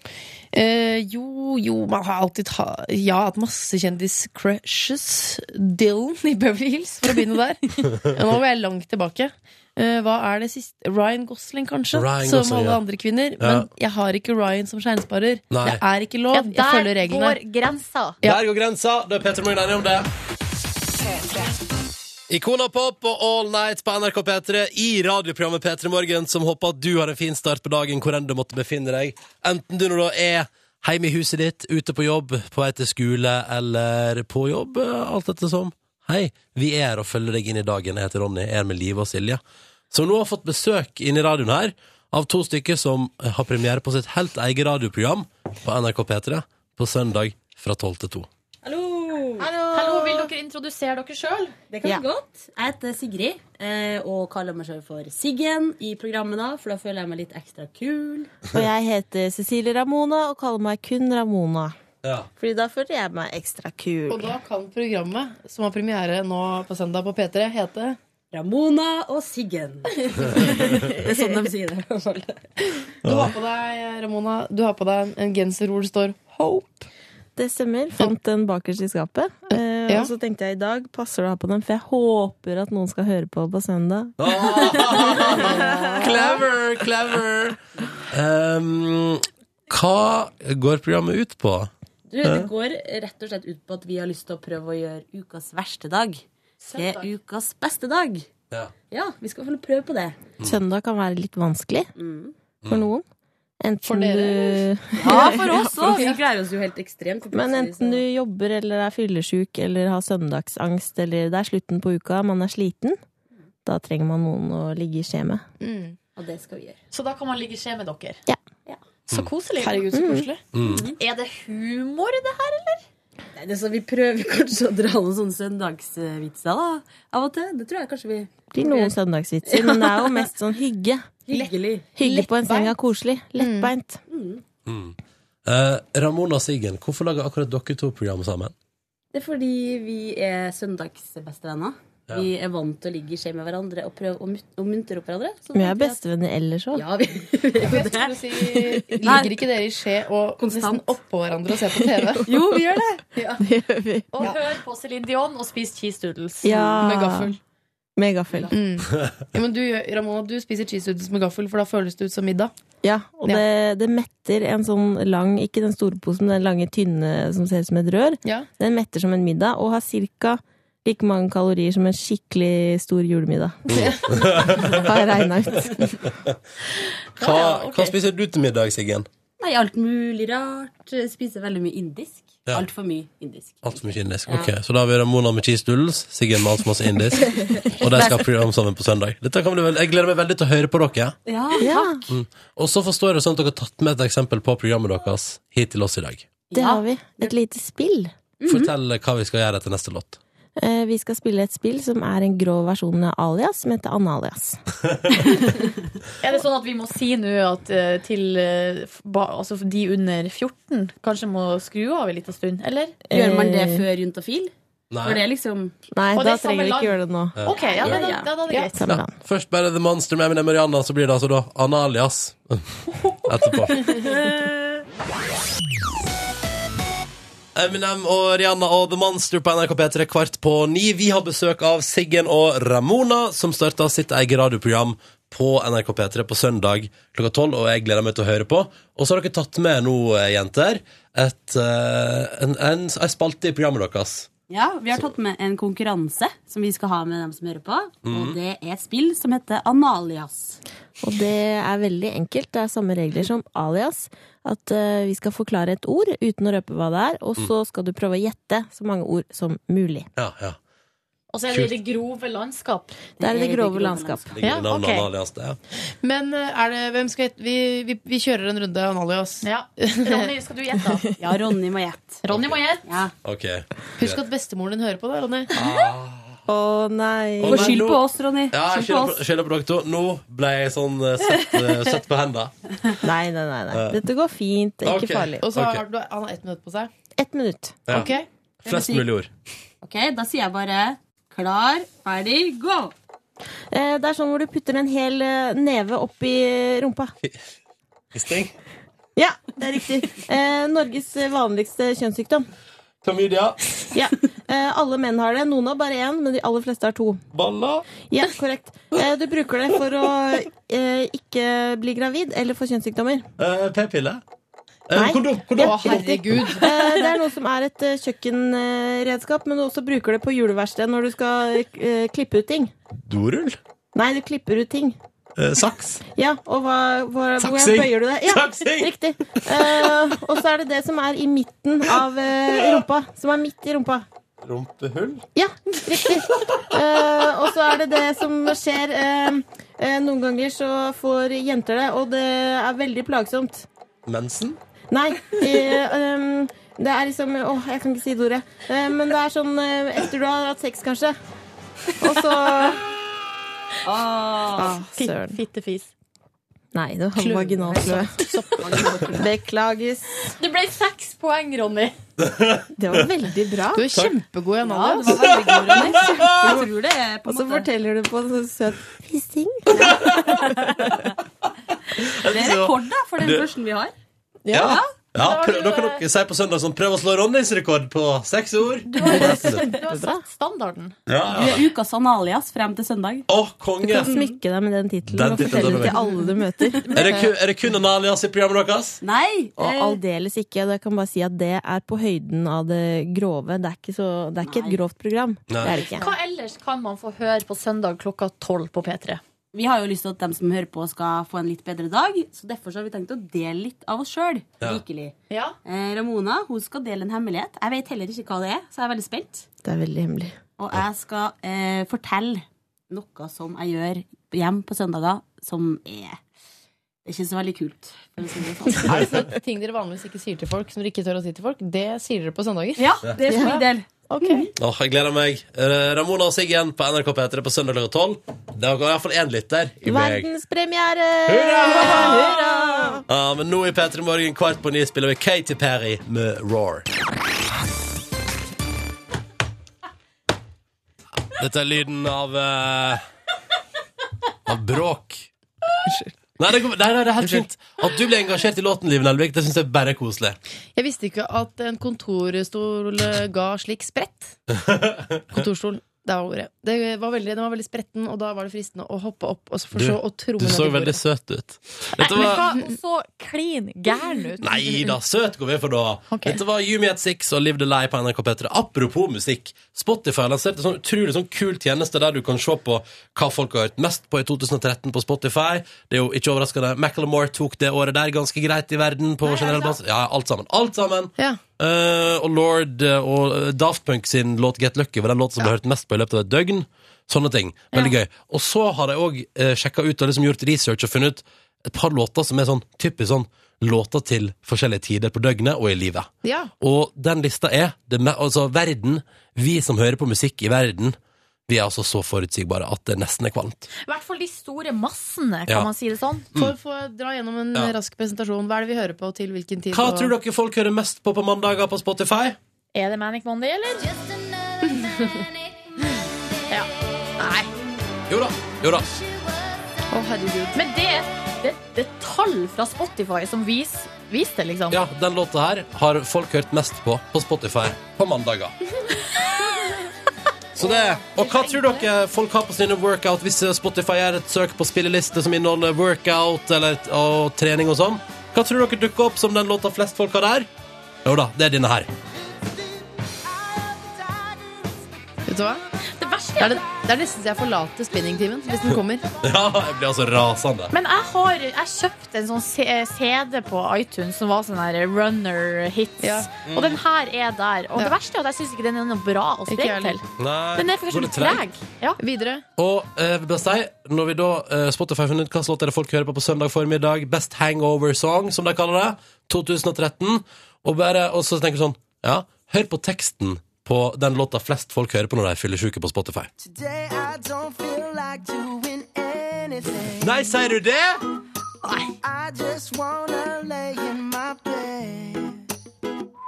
D: Eh, jo, jo, man har alltid ha, Jeg har hatt masse kjendis-crushes. Dylan i Beverly Hills, for å begynne der. Nå må jeg langt tilbake. Eh, hva er det siste? Ryan Gosling, kanskje.
B: Ryan
D: som
B: Gosling,
D: alle
B: ja.
D: andre kvinner.
B: Ja.
D: Men jeg har ikke Ryan som skjermsparer.
B: Nei.
D: Det er ikke lov. jeg følger
C: der
D: reglene.
C: går grensa.
D: Ja.
B: Der går grensa. Da er Peter Morgan enig om det. Ikona Pop og All Night på NRK P3 i radioprogrammet P3 Morgen, som håper at du har en fin start på dagen hvor enn du måtte befinne deg. Enten du nå da er hjemme i huset ditt, ute på jobb, på vei til skole eller på jobb, eh, alt etter som. Hei, vi er her og følger deg inn i dagen. Jeg heter Ronny, jeg er med Live og Silje. Som nå har fått besøk inn i radioen her av to stykker som har premiere på sitt helt eget radioprogram på NRK P3 på søndag fra 12 til 2.
C: Hallo, vil dere introdusere dere sjøl?
I: Det kan vi godt. Jeg heter Sigrid eh, og kaller meg selv for Siggen i programmet, da, for da føler jeg meg litt ekstra kul.
J: Og jeg heter Cecilie Ramona og kaller meg kun Ramona.
B: Ja.
J: Fordi da føler jeg meg ekstra kul.
D: Og da kan programmet, som har premiere nå på søndag på P3, hete
I: Ramona og Siggen. det er sånn de sier det. i hvert fall.
D: Du har på deg, Ramona, du har på deg en genser hvor det står Hope.
J: Det stemmer. Fant den bakerst i skapet. Eh,
D: Ja.
J: Og så tenkte jeg i dag passer det å ha på den, for jeg håper at noen skal høre på på søndag.
B: Ah! Clever, clever. Um, hva går programmet ut på?
I: Du, det går rett og slett ut på at vi har lyst til å prøve å gjøre ukas verste dag til ukas beste dag.
B: Ja.
I: Ja, vi skal vel prøve på det.
J: Søndag kan være litt vanskelig
I: Mm.
J: for noen. Enten
D: For dere?
J: du
I: Ja, for oss òg! Vi gleder oss jo helt ekstremt. for
J: Men
I: plutselig så-
J: enten du jobber eller er fyllesyk eller har søndagsangst eller det er slutten på uka, man er sliten, da trenger man noen å ligge i skje med.
I: Mm. Og det skal vi gjøre.
C: Så da kan man ligge i skje med dere.
J: Ja. Mm.
C: Så koselig.
D: Herregud, så koselig.
C: Er det humor, det her?
I: Nei, det er så Vi prøver kanskje å dra noen sånne søndagsvitser da, av og til. Det tror jeg kanskje vi
J: Det blir noen søndagsvitser, men det er jo mest sånn hygge.
I: Hyggelig.
J: Hygge på en seng er koselig. Lettbeint.
B: Eh, Ramona og Siggen, hvorfor lager akkurat dere to program sammen?
I: Det er fordi vi er søndagsbestevenner.
B: Ja.
I: Vi er vant til å ligge i skje med hverandre og prøve å mut- å muntre opp hverandre. Så tenkte
J: Vi er
I: jeg at-
J: bestevenner ellers òg.
I: Ja, vi, vi er jo det.
D: Si, ligger ikke dere i skje og nesten
I: Konstant.
D: oppå hverandre og ser på TV?
I: Jo, vi gjør det.
J: Det gjør vi.
C: Og hør på Céline Dion og spis cheese doodles.
D: Med
J: Ja.
D: gaffel.
J: Med gaffel.
D: Ja, men du, gjør- Ramona, du spiser cheese doodles med gaffel, for da føles det ut som middag.
J: Ja, og
D: Ja.
J: det, det metter en sånn lang, ikke den store posen, den lange, tynne som ser ut som et rør.
D: Ja.
J: Den metter som en middag, og har cirka like mange kalorier som en skikkelig stor julemiddag.
H: Mm.
J: Har jeg regna ut.
B: Hva, hva spiser du til middag, Siggen?
I: Nei, alt mulig rart. Spiser veldig mye indisk.
B: Ja.
I: Altfor mye indisk.
B: Altfor mye indisk. Ok, Så da har vi Ramona med cheese doodles, Siggen med altfor masse indisk. Og de skal ha program sammen på søndag. Dette kan bli vel, jeg gleder meg veldig til å høre på dere.
I: Ja.
J: Ja,
B: Og så forstår jeg det sånn at dere har tatt med et eksempel på programmet deres hit til oss i dag.
J: det har vi. Et lite spill.
I: Mhm.
B: eh, Fortell hva vi skal gjøre etter neste låt.
J: Eh, Vi skal spille et spill som er en grå versjon av Alias, som heter Analias.
C: Er det sånn at vi må si nå at eh, til eh, f- ba, altså de under 14 kanskje må skru av en liten stund, eller?
I: Gjør man det før Juntafil?
B: Nei.
I: For det er liksom
J: Nei,
C: Og det
J: da
C: er samme
J: trenger vi
C: land.
J: ikke gjøre det nå.
B: Ja.
C: Ok, ja, men da, da, da er det greit.
J: Samme
B: Ja,
J: land.
B: først bare The Monster med Eminem og Rihanna, så blir det altså da Analias etterpå. Eminem og Rihanna og The Monster på NRK P3 kvart på ni. Vi har besøk av Siggen og Ramona, som starta sitt eget radioprogram på NRK P3 på søndag klokka tolv, og jeg gleder meg til å høre på. Og så har dere tatt med nå, eh, jenter, et, eh, en, en, en spalte i programmet deres.
I: Ja, vi har tatt med en konkurranse som vi skal ha med dem som hører på. Og
B: Mhm.
I: det er et spill som heter Analias.
J: Og det er veldig enkelt. Det er samme regler som alias. At eh, vi skal forklare et ord uten å røpe hva det er,
B: Mm.
J: og så skal du prøve å gjette så mange ord som mulig.
B: Ja, ja.
C: Og så er det i det grove landskap.
J: Det er i det grove landskap.
B: Det er
C: Ja,
B: navnet
C: ok.
B: Analias, det. ja.
D: Men eh, er det, hvem skal gjette? Vi, vi, vi kjører en runde Analias.
C: Ja. Ronny, skal du gjette? da?
I: Ja, Ronny må gjette.
C: Ronny må gjette.
I: Ja.
B: Ok.
D: Husk at bestemoren din hører på det, Ronny.
J: Å nei.
B: Å,
I: Og
B: nei,
I: skyld
B: nå-
I: på oss, Ronny.
B: Ja, jeg
I: Skyld på
B: skylder
I: oss.
B: på- skylder på dere to. Nå ble jeg sånn eh, sett, eh, sett på hendene.
J: Nei, nei, nei. nei. Dette går fint. Det er
B: Ok.
J: ikke farlig.
D: Og så
B: Ok.
D: har du, han har ett minutt på seg.
J: Ett minutt.
B: Ja.
D: Ok?
B: Flest mulig ord.
I: Ok, da sier jeg bare klar, ferdig, gå!
J: Eh, Det er sånn hvor du putter en hel eh, neve opp i rumpa.
B: Sting.
J: Ja, det er riktig. Eh, Norges vanligste kjønnssykdom.
B: Klamydia.
J: Ja. Eh, alle menn har det. Noen har bare én, men de aller fleste har to.
B: Balla.
J: Ja, korrekt. Eh, du bruker det for å eh, ikke bli gravid eller få kjønnssykdommer.
B: eh, P-pille. Eh,
J: Nei.
B: Kondom.
J: Ja,
B: kondom.
J: riktig. Eh, det er noe som er et eh, kjøkkenredskap, men du også bruker det på juleverkstedet når du skal eh, klippe ut ting.
B: Dorull.
J: Nei, du klipper ut ting.
B: Eh, saks.
J: Ja, og hva, hva, hvordan
B: Saksing.
J: bøyer du deg? Ja,
B: Saksing.
J: riktig. Eh, og så er det det som er i midten av eh, rumpa. Som er midt i rumpa.
B: Rumpehull.
J: Ja, riktig. Eh, og så er det det som skjer eh, eh, Noen ganger så får jenter det, og det er veldig plagsomt.
B: Mensen.
J: Nei. eh, ehm, det er liksom Åh, jeg kan ikke si det ordet. Eh, men det er sånn eh, etter du har hatt sex, kanskje. Og så ah,
C: Fitt- Fittefis.
J: Nei, det var vaginalkløe. Beklages.
C: Det ble seks poeng, Ronny.
J: Det var veldig bra.
D: Du er kjempegod i
I: Ja,
D: Analias.
I: det var veldig god, Ronny. Jeg tror det er på
J: Og så
I: en måte
J: forteller du på en sånn søt hissing.
I: Det er rekord, da, for den
B: Du-
I: første vi har.
B: Eh, Ja.
C: Da
B: ja
C: har
B: prøv,
C: du,
B: nå kan
C: eh,
B: dere si på søndag sånn Prøv å slå Ronnys rekord på seks ord.
C: Du har, du har
J: Kjempebra.
C: satt standarden.
I: Du
B: Ja, ja.
I: er ukas Analias frem til søndag.
B: Å,
J: Du kan
B: konge.
J: smykke deg med den tittelen
B: Den
J: og
B: tittelen
J: fortelle
B: tar
J: den
B: vi.
J: til alle du møter.
B: Er det, kun, er det kun Analias i programmet deres?
I: Nei!
J: Og
I: eh,
J: aldeles ikke. Og jeg kan bare si at det er på høyden av det grove. Det er ikke, så, det er ikke et
I: Nei.
J: grovt program.
B: Nei.
J: Det er det ikke.
C: Hva ellers kan man få høre på søndag klokka tolv på P3?
I: vi har jo lyst til at dem som hører på, skal få en litt bedre dag, så derfor så har vi tenkt å dele litt av oss sjøl.
B: Ja.
I: Rikelig.
C: Ja.
I: Eh, Ramona hun skal dele en hemmelighet. Jeg vet heller ikke hva det er, så jeg er veldig spent.
J: Det er veldig hemmelig.
I: Og jeg skal eh, fortelle noe som jeg gjør hjemme på søndager, som er det er ikke så veldig kult. for å si det sånn.
D: Altså, ting dere vanligvis ikke sier til folk, som dere ikke tør å si til folk, det sier dere på søndager.
I: Ja, det er for min del.
B: Åh, jeg gleder meg. Eh, Ramona og Siggen på NRK P3 på søndag klokka tolv. Det går iallfall én lytter i meg.
J: Verdenspremiere!
B: Ja, men nå i P3 Morgen kvart på ni spiller vi Katy Perry med Roar. Dette er lyden av eh, Av bråk. Nei, det, går, nei, nei, det er helt fint. At du ble engasjert i låten, Liv Nelvik, det syns jeg bare er koselig.
D: Jeg visste ikke at en kontorstol ga slik sprett. Kontorstol. Det var ordet. Det var veldig, den var veldig spretten, og da var det fristende å hoppe opp og så for
B: Du-
D: så å tromme
B: Du
D: ned
B: så
D: i
B: veldig
D: bordet.
B: søt ut.
C: Nei,
B: Dette
C: men
B: var
C: hva, hun så klin gæren ut.
B: Nei da, søt går vi for da.
D: Mm, Ok.
B: Dette var Yumi at Six og Live the Lie på NRK P3. Apropos musikk. Spotify lanserte en sånn utrolig sånn kul tjeneste der du kan se på hva folk har hørt mest på i 2013 på Spotify. Det er jo ikke overraskende. Macklemore tok det året der ganske greit i verden på generell basis. Ja, alt sammen. Alt sammen.
D: Ja.
B: Eh, og Lord eh, og eh, Daft Punk sin låt Get Lucky var den låten som ble hørt mest på i løpet av et eh, døgn. Sånne ting. Veldig gøy. Og så har jeg òg uh, sjekka ut og liksom gjort research og funnet ut et par låter som er sånn typisk sånn låter til forskjellige tider på døgnet og i livet.
D: Ja.
B: Og den lista er det, me- Altså, verden, vi som hører på musikk i verden, vi er altså så forutsigbare at det nesten er kvalmt.
C: I hvert fall de store massene, kan
B: Ja.
C: man si det sånn.
D: For, for dra gjennom en
B: Mm. Ja.
D: rask presentasjon. Hva er det vi hører på, til hvilken tid?
B: Hva
D: og-
B: tror dere folk hører mest på på mandager på Spotify?
C: Er det Manic Monday, eller? ja. Nei.
B: Jo da. Jo da.
D: Å, herregud.
C: Men det, det, det er tall fra Spotify som viser vis det, liksom.
B: Ja, den låta her har folk hørt mest på på Spotify på mandager. Så det, og hva tror dere folk har på sine workout hvis Spotify gjør et søk på spilleliste som inneholder workout eller, og trening og sånn? Hva tror dere dukker opp som den låta flest folk har der? Jo da, det er denne her.
D: Vet du hva?
C: Det verste
D: Det er, det, det er nesten så jeg forlater spinningtimen hvis den kommer.
B: Ja, jeg blir altså rasende.
C: Men jeg har jeg kjøpt en sånn C- CD på iTunes som var sånn her runner hits.
D: Ja.
C: Og den her er der. Og
D: Ja.
C: det verste er at jeg syns ikke den er noe bra å
D: Ikke jeg
C: spreke til.
B: Nei,
C: Den er for
B: går det
C: sånn treg. Ja.
D: Videre.
B: Og eh, vil bare si, når vi da eh, Spotify har funnet ut hva slags låt er det folk hører på på søndag formiddag, Best Hangover Song, som de kaller det, 2013, og, bare, og så tenker vi sånn Ja, hør på teksten på den låta flest folk hører på når de er fyllesyke på Spotify. Nei, sier du det?!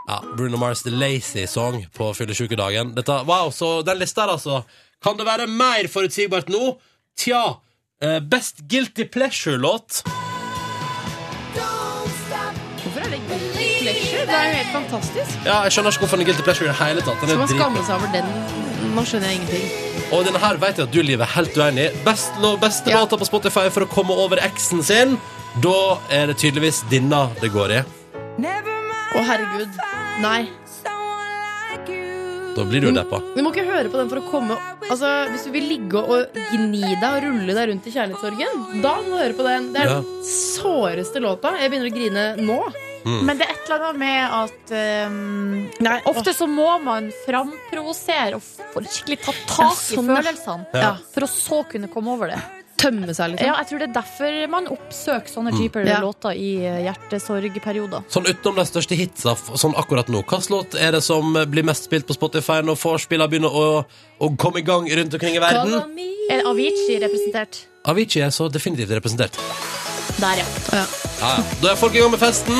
B: Ja, Bruno Mars' The Lazy Song på fyllesykedagen. Dette, wow, så den lista her, altså. Kan det være mer forutsigbart nå? Tja, eh, Best Guilty Pleasure-låt.
D: Hvorfor er det guilty pleasure? Det er jo helt fantastisk.
B: Ja, jeg skjønner ikke hvorfor den er Guilty Pleasure i det hele tatt. Den
D: Skal
B: er
D: man skamme
B: dritbra.
D: seg over den? Nå skjønner jeg ingenting.
B: Og denne her vet jeg at du, Liv, er helt uenig i. Best lå- Beste
D: Ja.
B: låta på Spotify for å komme over eksen sin. Da er det tydeligvis denne det går i.
D: Å, herregud. Nei.
B: Da blir du jo deppa.
D: Du må ikke høre på den for å komme Altså, Hvis du vil ligge og gni deg og rulle deg rundt i kjærlighetssorgen, da må du høre på den. Det er
B: Ja.
D: den såreste låta. Jeg begynner å grine nå.
C: Men det er et eller annet med at ehm,
D: Nei,
C: Ofte så må man framprovosere og få skikkelig ta tak
D: Ja, sånn,
C: i
D: ja.
C: følelsene.
B: Ja.
C: For å så kunne komme over det.
D: Tømme seg, liksom.
C: Ja, jeg tror det er derfor man oppsøker sånne typer
D: Mm. Ja.
C: låter i eh, hjertesorgperioder.
B: Sånn utenom de største hitsa f- sånn akkurat nå, hva slags låt er det som eh, blir mest spilt på Spotify når vorspiela begynner å, å komme i gang rundt omkring i verden?
C: Er Avicii representert?
B: Avicii er så definitivt representert.
C: Der, ja.
B: Ja, ja. Da er folk i gang med festen.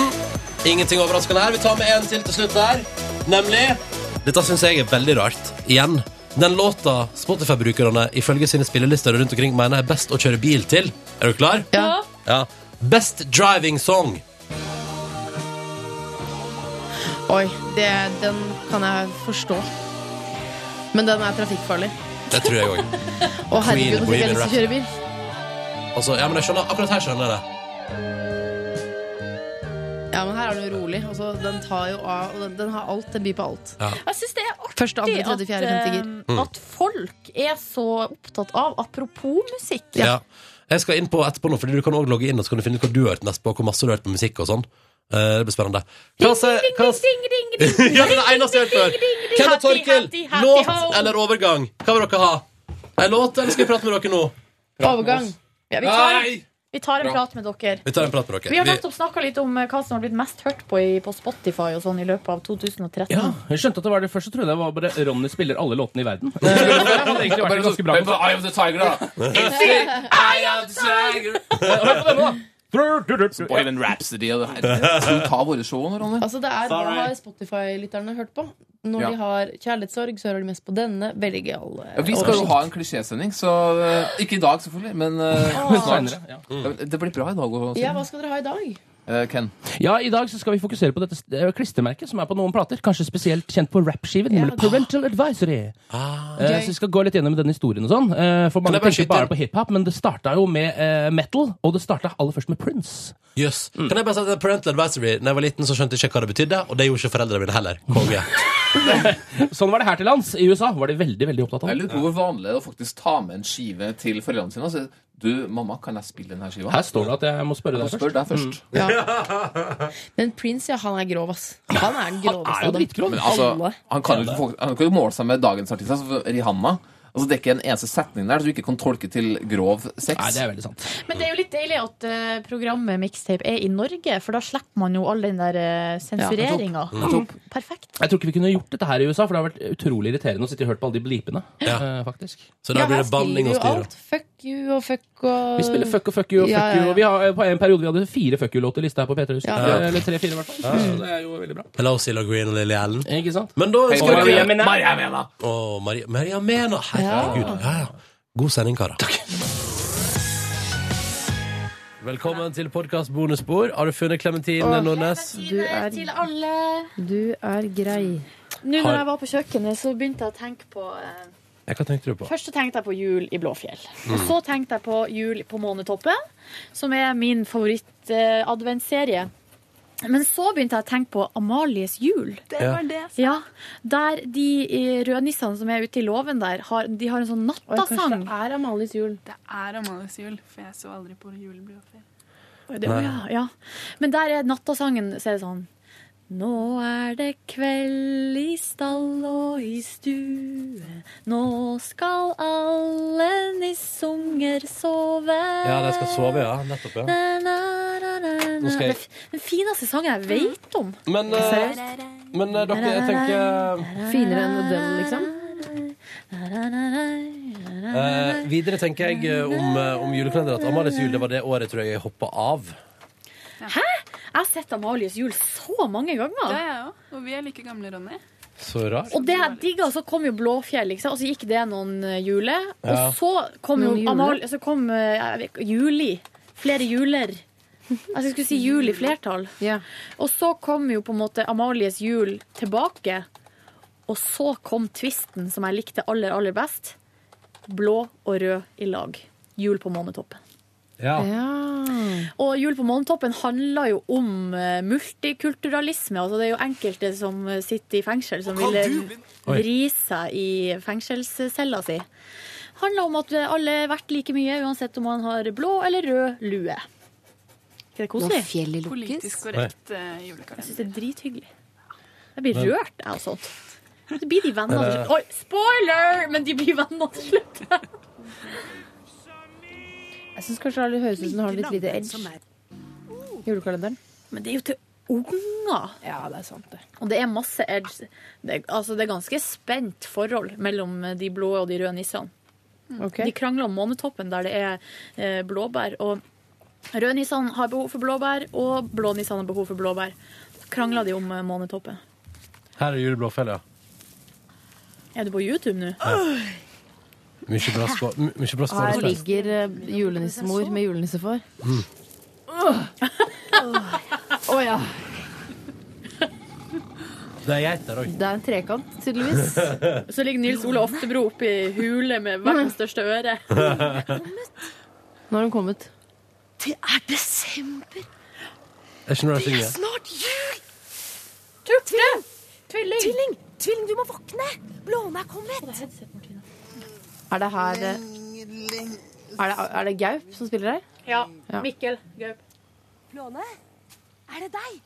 B: Ingenting overraskende her. Vi tar med en til til slutt her, nemlig Dette syns jeg er veldig rart. Igjen. Den låta Spotify-brukerne ifølge sine spillelister rundt omkring mener er best å kjøre bil til. Er du klar?
D: Ja.
B: Ja. Best driving song.
D: Oi, det, den kan jeg forstå. Men den er trafikkfarlig.
B: Det tror jeg òg.
D: Å herregud,
B: Queen,
D: nå fikk jeg lyst til å kjøre
B: Bohemian
D: bil.
B: Altså, ja, men jeg skjønner, akkurat her skjønner jeg det.
D: Ja, men her er det jo rolig. Altså, den tar jo av, og den, den har alt. Den byr på alt.
C: Jeg syns det er artig
D: Første, andre, tredje, fjerde, femte gir.
C: at, eh, at folk er så opptatt av apropos musikk.
B: Ja. Jeg skal inn på etterpå nå, fordi du kan også logge inn og så kan du finne ut hva du har hørt mest på, hvor masse du har hørt på musikk og sånn. Eh, Det blir spennende. Hva sier-
C: Ding,
B: hva
C: ding,
B: sier-
C: ding, ding, ding, ding.
B: Ja, det er det eneste jeg har hørt før. Hvem er
C: Happy,
B: Torkel?
C: happy, happy home.
B: Låt eller overgang? Hva vil dere ha? En låt, eller skal vi prate med dere nå?
D: Overgang.
C: Ja, vi, tar, vi tar en prat med dere.
B: Vi tar en prat med dere.
C: Vi har nettopp snakka litt om eh, hva som har blitt mest hørt på i, på Spotify og sånn i løpet av 2013.
K: Ja, jeg skjønte at det var det først, så trodde jeg det var bare Ronny spiller alle låtene i verden. Det hadde egentlig vært en ganske bra konsert.
H: Eye of the Tiger, da.
K: Hør på denne, da!
H: Boyven Rhapsody og det her. Skal du ta våre show nå, Ronny?
D: Altså, det er, Hva
H: Sorry.
D: har Spotify-lytterne hørt på? Når
H: Ja.
D: de har kjærlighetssorg, så hører de mest på denne. Veldig gøyal. eh,
H: Ja, vi skal jo
D: oversikt.
H: ha en klisjésending, så eh, Ikke i dag, selvfølgelig, men eh, snart.
K: Senere, ja.
H: Ja, men Det blir bra i dag òg,
D: Ja, hva skal dere ha i dag?
H: Ken.
K: Ja, I dag så skal vi fokusere på dette s- eh, klistremerket som er på noen plater. Kanskje spesielt kjent på rappskiven.
D: Ja.
K: nemlig Parental Advisory.
B: Ah.
K: Eh,
D: Gøy.
K: så vi skal gå litt gjennom den historien og sånn. Eh, for
B: Kan
K: mange
B: jeg bare
K: tenker
B: skyte
K: bare
B: inn?
K: på hiphop, men det starta jo med eh, metal. Og det starta aller først med Prince.
B: Jøs.
K: Mm.
B: Kan jeg bare si at Parental Advisory Da jeg var liten, så skjønte jeg ikke hva det betydde, og det gjorde ikke foreldrene mine heller. Konge.
K: Sånn var det her til lands. I USA var de veldig veldig opptatt av
H: Jeg
K: det.
H: lurer på hvor vanlig det er å faktisk ta med en skive til foreldrene sine og si Du, mamma, kan jeg spille denne skiva?
K: Her står det at jeg må spørre deg
H: Jeg spør
K: først.
H: deg først.
D: Men Prince, ja, han er grov, ass. Han er
K: Han
D: den groveste
K: er jo
D: av dem.
K: dritgrov.
H: Men altså,
D: Alle.
H: han kan jo ikke, få- han kan jo ikke måle seg med dagens artister, altså Rihanna. Altså, det er ikke en eneste setning der så du ikke kan tolke til grov sex. Nei,
K: det er veldig sant.
C: Men det er jo litt deilig at eh, programmet Mixtape er i Norge, for da slipper man jo all den der uh, sensureringa.
K: Ja, nettopp. Nettopp.
C: Perfekt.
K: Jeg tror ikke vi kunne gjort dette her i USA, for det har vært utrolig irriterende å sitte og høre på alle de blipene. eh, faktisk.
B: Så
D: Ja, her spiller vi jo alt. Fuck you og fuck og
K: Vi spiller fuck og fuck you og fuck
D: Ja, ja, ja.
K: you. Og vi har, eh, på en periode vi hadde fire fuck you-låter i lista her på P3. husker
D: Ja.
K: jeg.
B: Ja.
K: Eller tre-fire, i hvert fall.
B: Ja, ja.
K: Så Det er jo veldig bra.
B: Hello, Silla Green og Lily Allen.
K: Ikke sant?
B: Men da
K: Hei, Maria Mena. Maria
H: Mena.
B: Å, Maria, Maria Mena. Herregud. Ja. Ja, God sending, karer. Velkommen til podkast bonusbord. Har du funnet Clementine
C: Åh.
B: Nordnes?
D: Du er-
C: Til alle.
D: Du er grei.
C: Nå
B: Har-
C: når jeg var på kjøkkenet, så begynte jeg å tenke på eh,
B: Ja, Hva tenkte du på?
C: Først så tenkte jeg på jul i Blåfjell.
B: Mm.
C: Og så tenkte jeg på jul på Månetoppen, som er min favoritt-adventserie. Men så begynte jeg å tenke på Amalies jul.
E: Det var det jeg sa.
C: Ja, Der de eh, rødnissene som er ute i låven der, har, de har en sånn nattasang.
D: Det er Amalies jul.
E: Det er Amalies jul, for jeg så aldri på juleblodfjell.
C: Det, å ja, ja. Men der er nattasangen, så er det sånn Nå er det kveld i stall og i stue. Nå skal alle nissunger sove.
B: Ja, de skal sove, ja. Nettopp, ja.
C: Na, na, na, na, na.
B: Nå skal jeg- Mm.
C: Det er f- Den fineste sangen jeg vet om.
B: Men, eh,
C: Seriøst?
B: men eh, dere, jeg tenker
D: Finere enn modell, liksom.
B: eh, Videre tenker jeg eh, om, eh, om julekalenderen at Amalies jul det var det året tror jeg jeg hoppa av.
C: Hæ? Jeg har sett Amalies jul så mange ganger.
E: Det er jeg òg. Og vi er like gamle, Ronny.
B: Så rart.
C: Og det jeg digga, så kom jo Blåfjell, ikke sant? og så gikk det noen eh, juler.
B: Ja.
C: Og så kom jo
D: Noen juler?
C: Amal, så kom eh, jeg vet ikke, Juli. Flere juler. Altså, jeg skulle si jul i flertall. Og så kom jo på en måte Amalies jul tilbake. Og så kom twisten som jeg likte aller, aller best. Blå og rød i lag. Jul på månetoppen.
B: Ja.
C: Og Jul på månetoppen handler jo om eh, multikulturalisme. Altså det er jo enkelte som eh, sitter i fengsel, som
L: Kan
C: ville
L: du bli-
B: Oi.
C: vri seg i fengselscella si. handler om at eh, alle er verdt like mye, uansett om man har blå eller rød lue. Ikke det koselig?
E: Politisk korrekt eh, julekalender.
C: Jeg syns det er drithyggelig. Jeg blir
E: Men-
C: rørt, jeg, av sånt. Så blir de venner til
B: Er det-
C: slutt. Oi, spoiler! Men de blir venner til slutt.
D: Jeg syns kanskje det høres ut som den har litt lite edge. Julekalenderen.
C: Men det er jo til unger.
D: Ja, det er sant, det.
C: Og det er masse edge. Det, altså, det er ganske spent forhold mellom de blå og de røde nissene.
D: Ok.
C: De krangler om månetoppen, der det er eh, blåbær. Og rødnissene har behov for blåbær, og blånissene har behov for blåbær. Så krangler de om eh, månetoppen.
B: Her er juleblåfjell, ja.
C: Er du på YouTube nå?
B: Mye bra skå- m- mye bra
D: Her
B: skål.
D: ligger eh, julenissemor med julenissefar.
B: Mm.
D: Å ja.
B: Det er geiter òg.
D: Det er en trekant, tydeligvis.
C: Så ligger Nils Ole Oftebro oppe i hule med verdens største øre.
D: Nå har hun kommet.
C: Det er desember!
B: Er ikke noe jeg synger?
L: Snart jul!
C: Turte!
L: Tvilling! Tvilling! du må våkne! Blåna er kommet!
D: Er det her eh, Er det, er det Gaup som spiller her?
C: Ja.
D: Ja.
C: Mikkel Gaup.
L: Blåne, er det deg?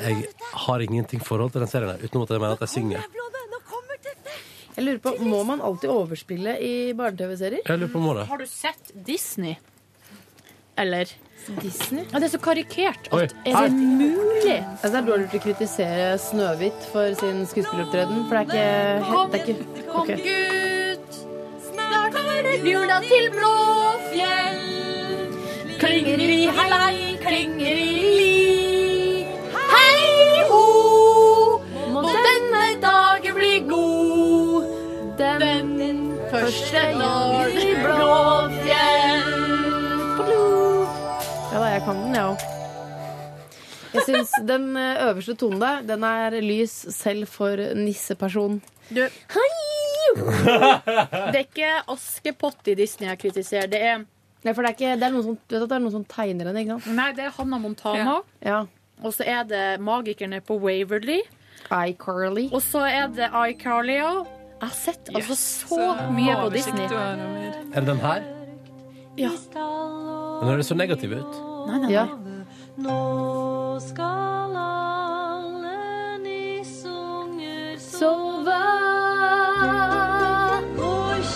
B: Jeg har ingenting forhold til den serien her, utenom at jeg mener at jeg synger.
L: Blåne, nå kommer dette!
D: Jeg lurer på, Må man alltid overspille i barne-TV-serier?
B: Jeg lurer på om det.
C: Har du sett Disney? Eller
D: Disney?
C: Ja, det er så karikert.
B: Oi.
D: Er det
C: mulig?
D: Altså, det er dårlig å kritisere Snøhvit for sin skuespilleropptreden, for det er ikke, det er ikke
C: Kom,
D: ok.
C: gutt, snart er det jula til Blåfjell. Klinger i hei, klinger i li. Hei ho, må denne dagen bli god. Den, første dag i Blåfjell.
D: Ja da, jeg kan den, jeg òg. Jeg syns den eh, øverste tonen der, den er lys selv for nisseperson.
C: Du, det er ikke Askepott i Disney jeg kritiserer. Det er,
D: Nei, for det er, ikke, det er noen som, du vet at det er noen som tegner henne, ikke sant?
C: nei, det er Hanna Montana.
D: Ja.
C: Og så er det Magikerne på Waverly.
D: iCarly.
C: Og så er det iCarly, ja. Jeg har sett altså så mye på Disney.
B: Enn den her?
C: Ja.
B: Den høres så negativ ut.
C: Nei, nei,
D: Ja.
L: Nå skal alle nissunger
D: sove.
L: Og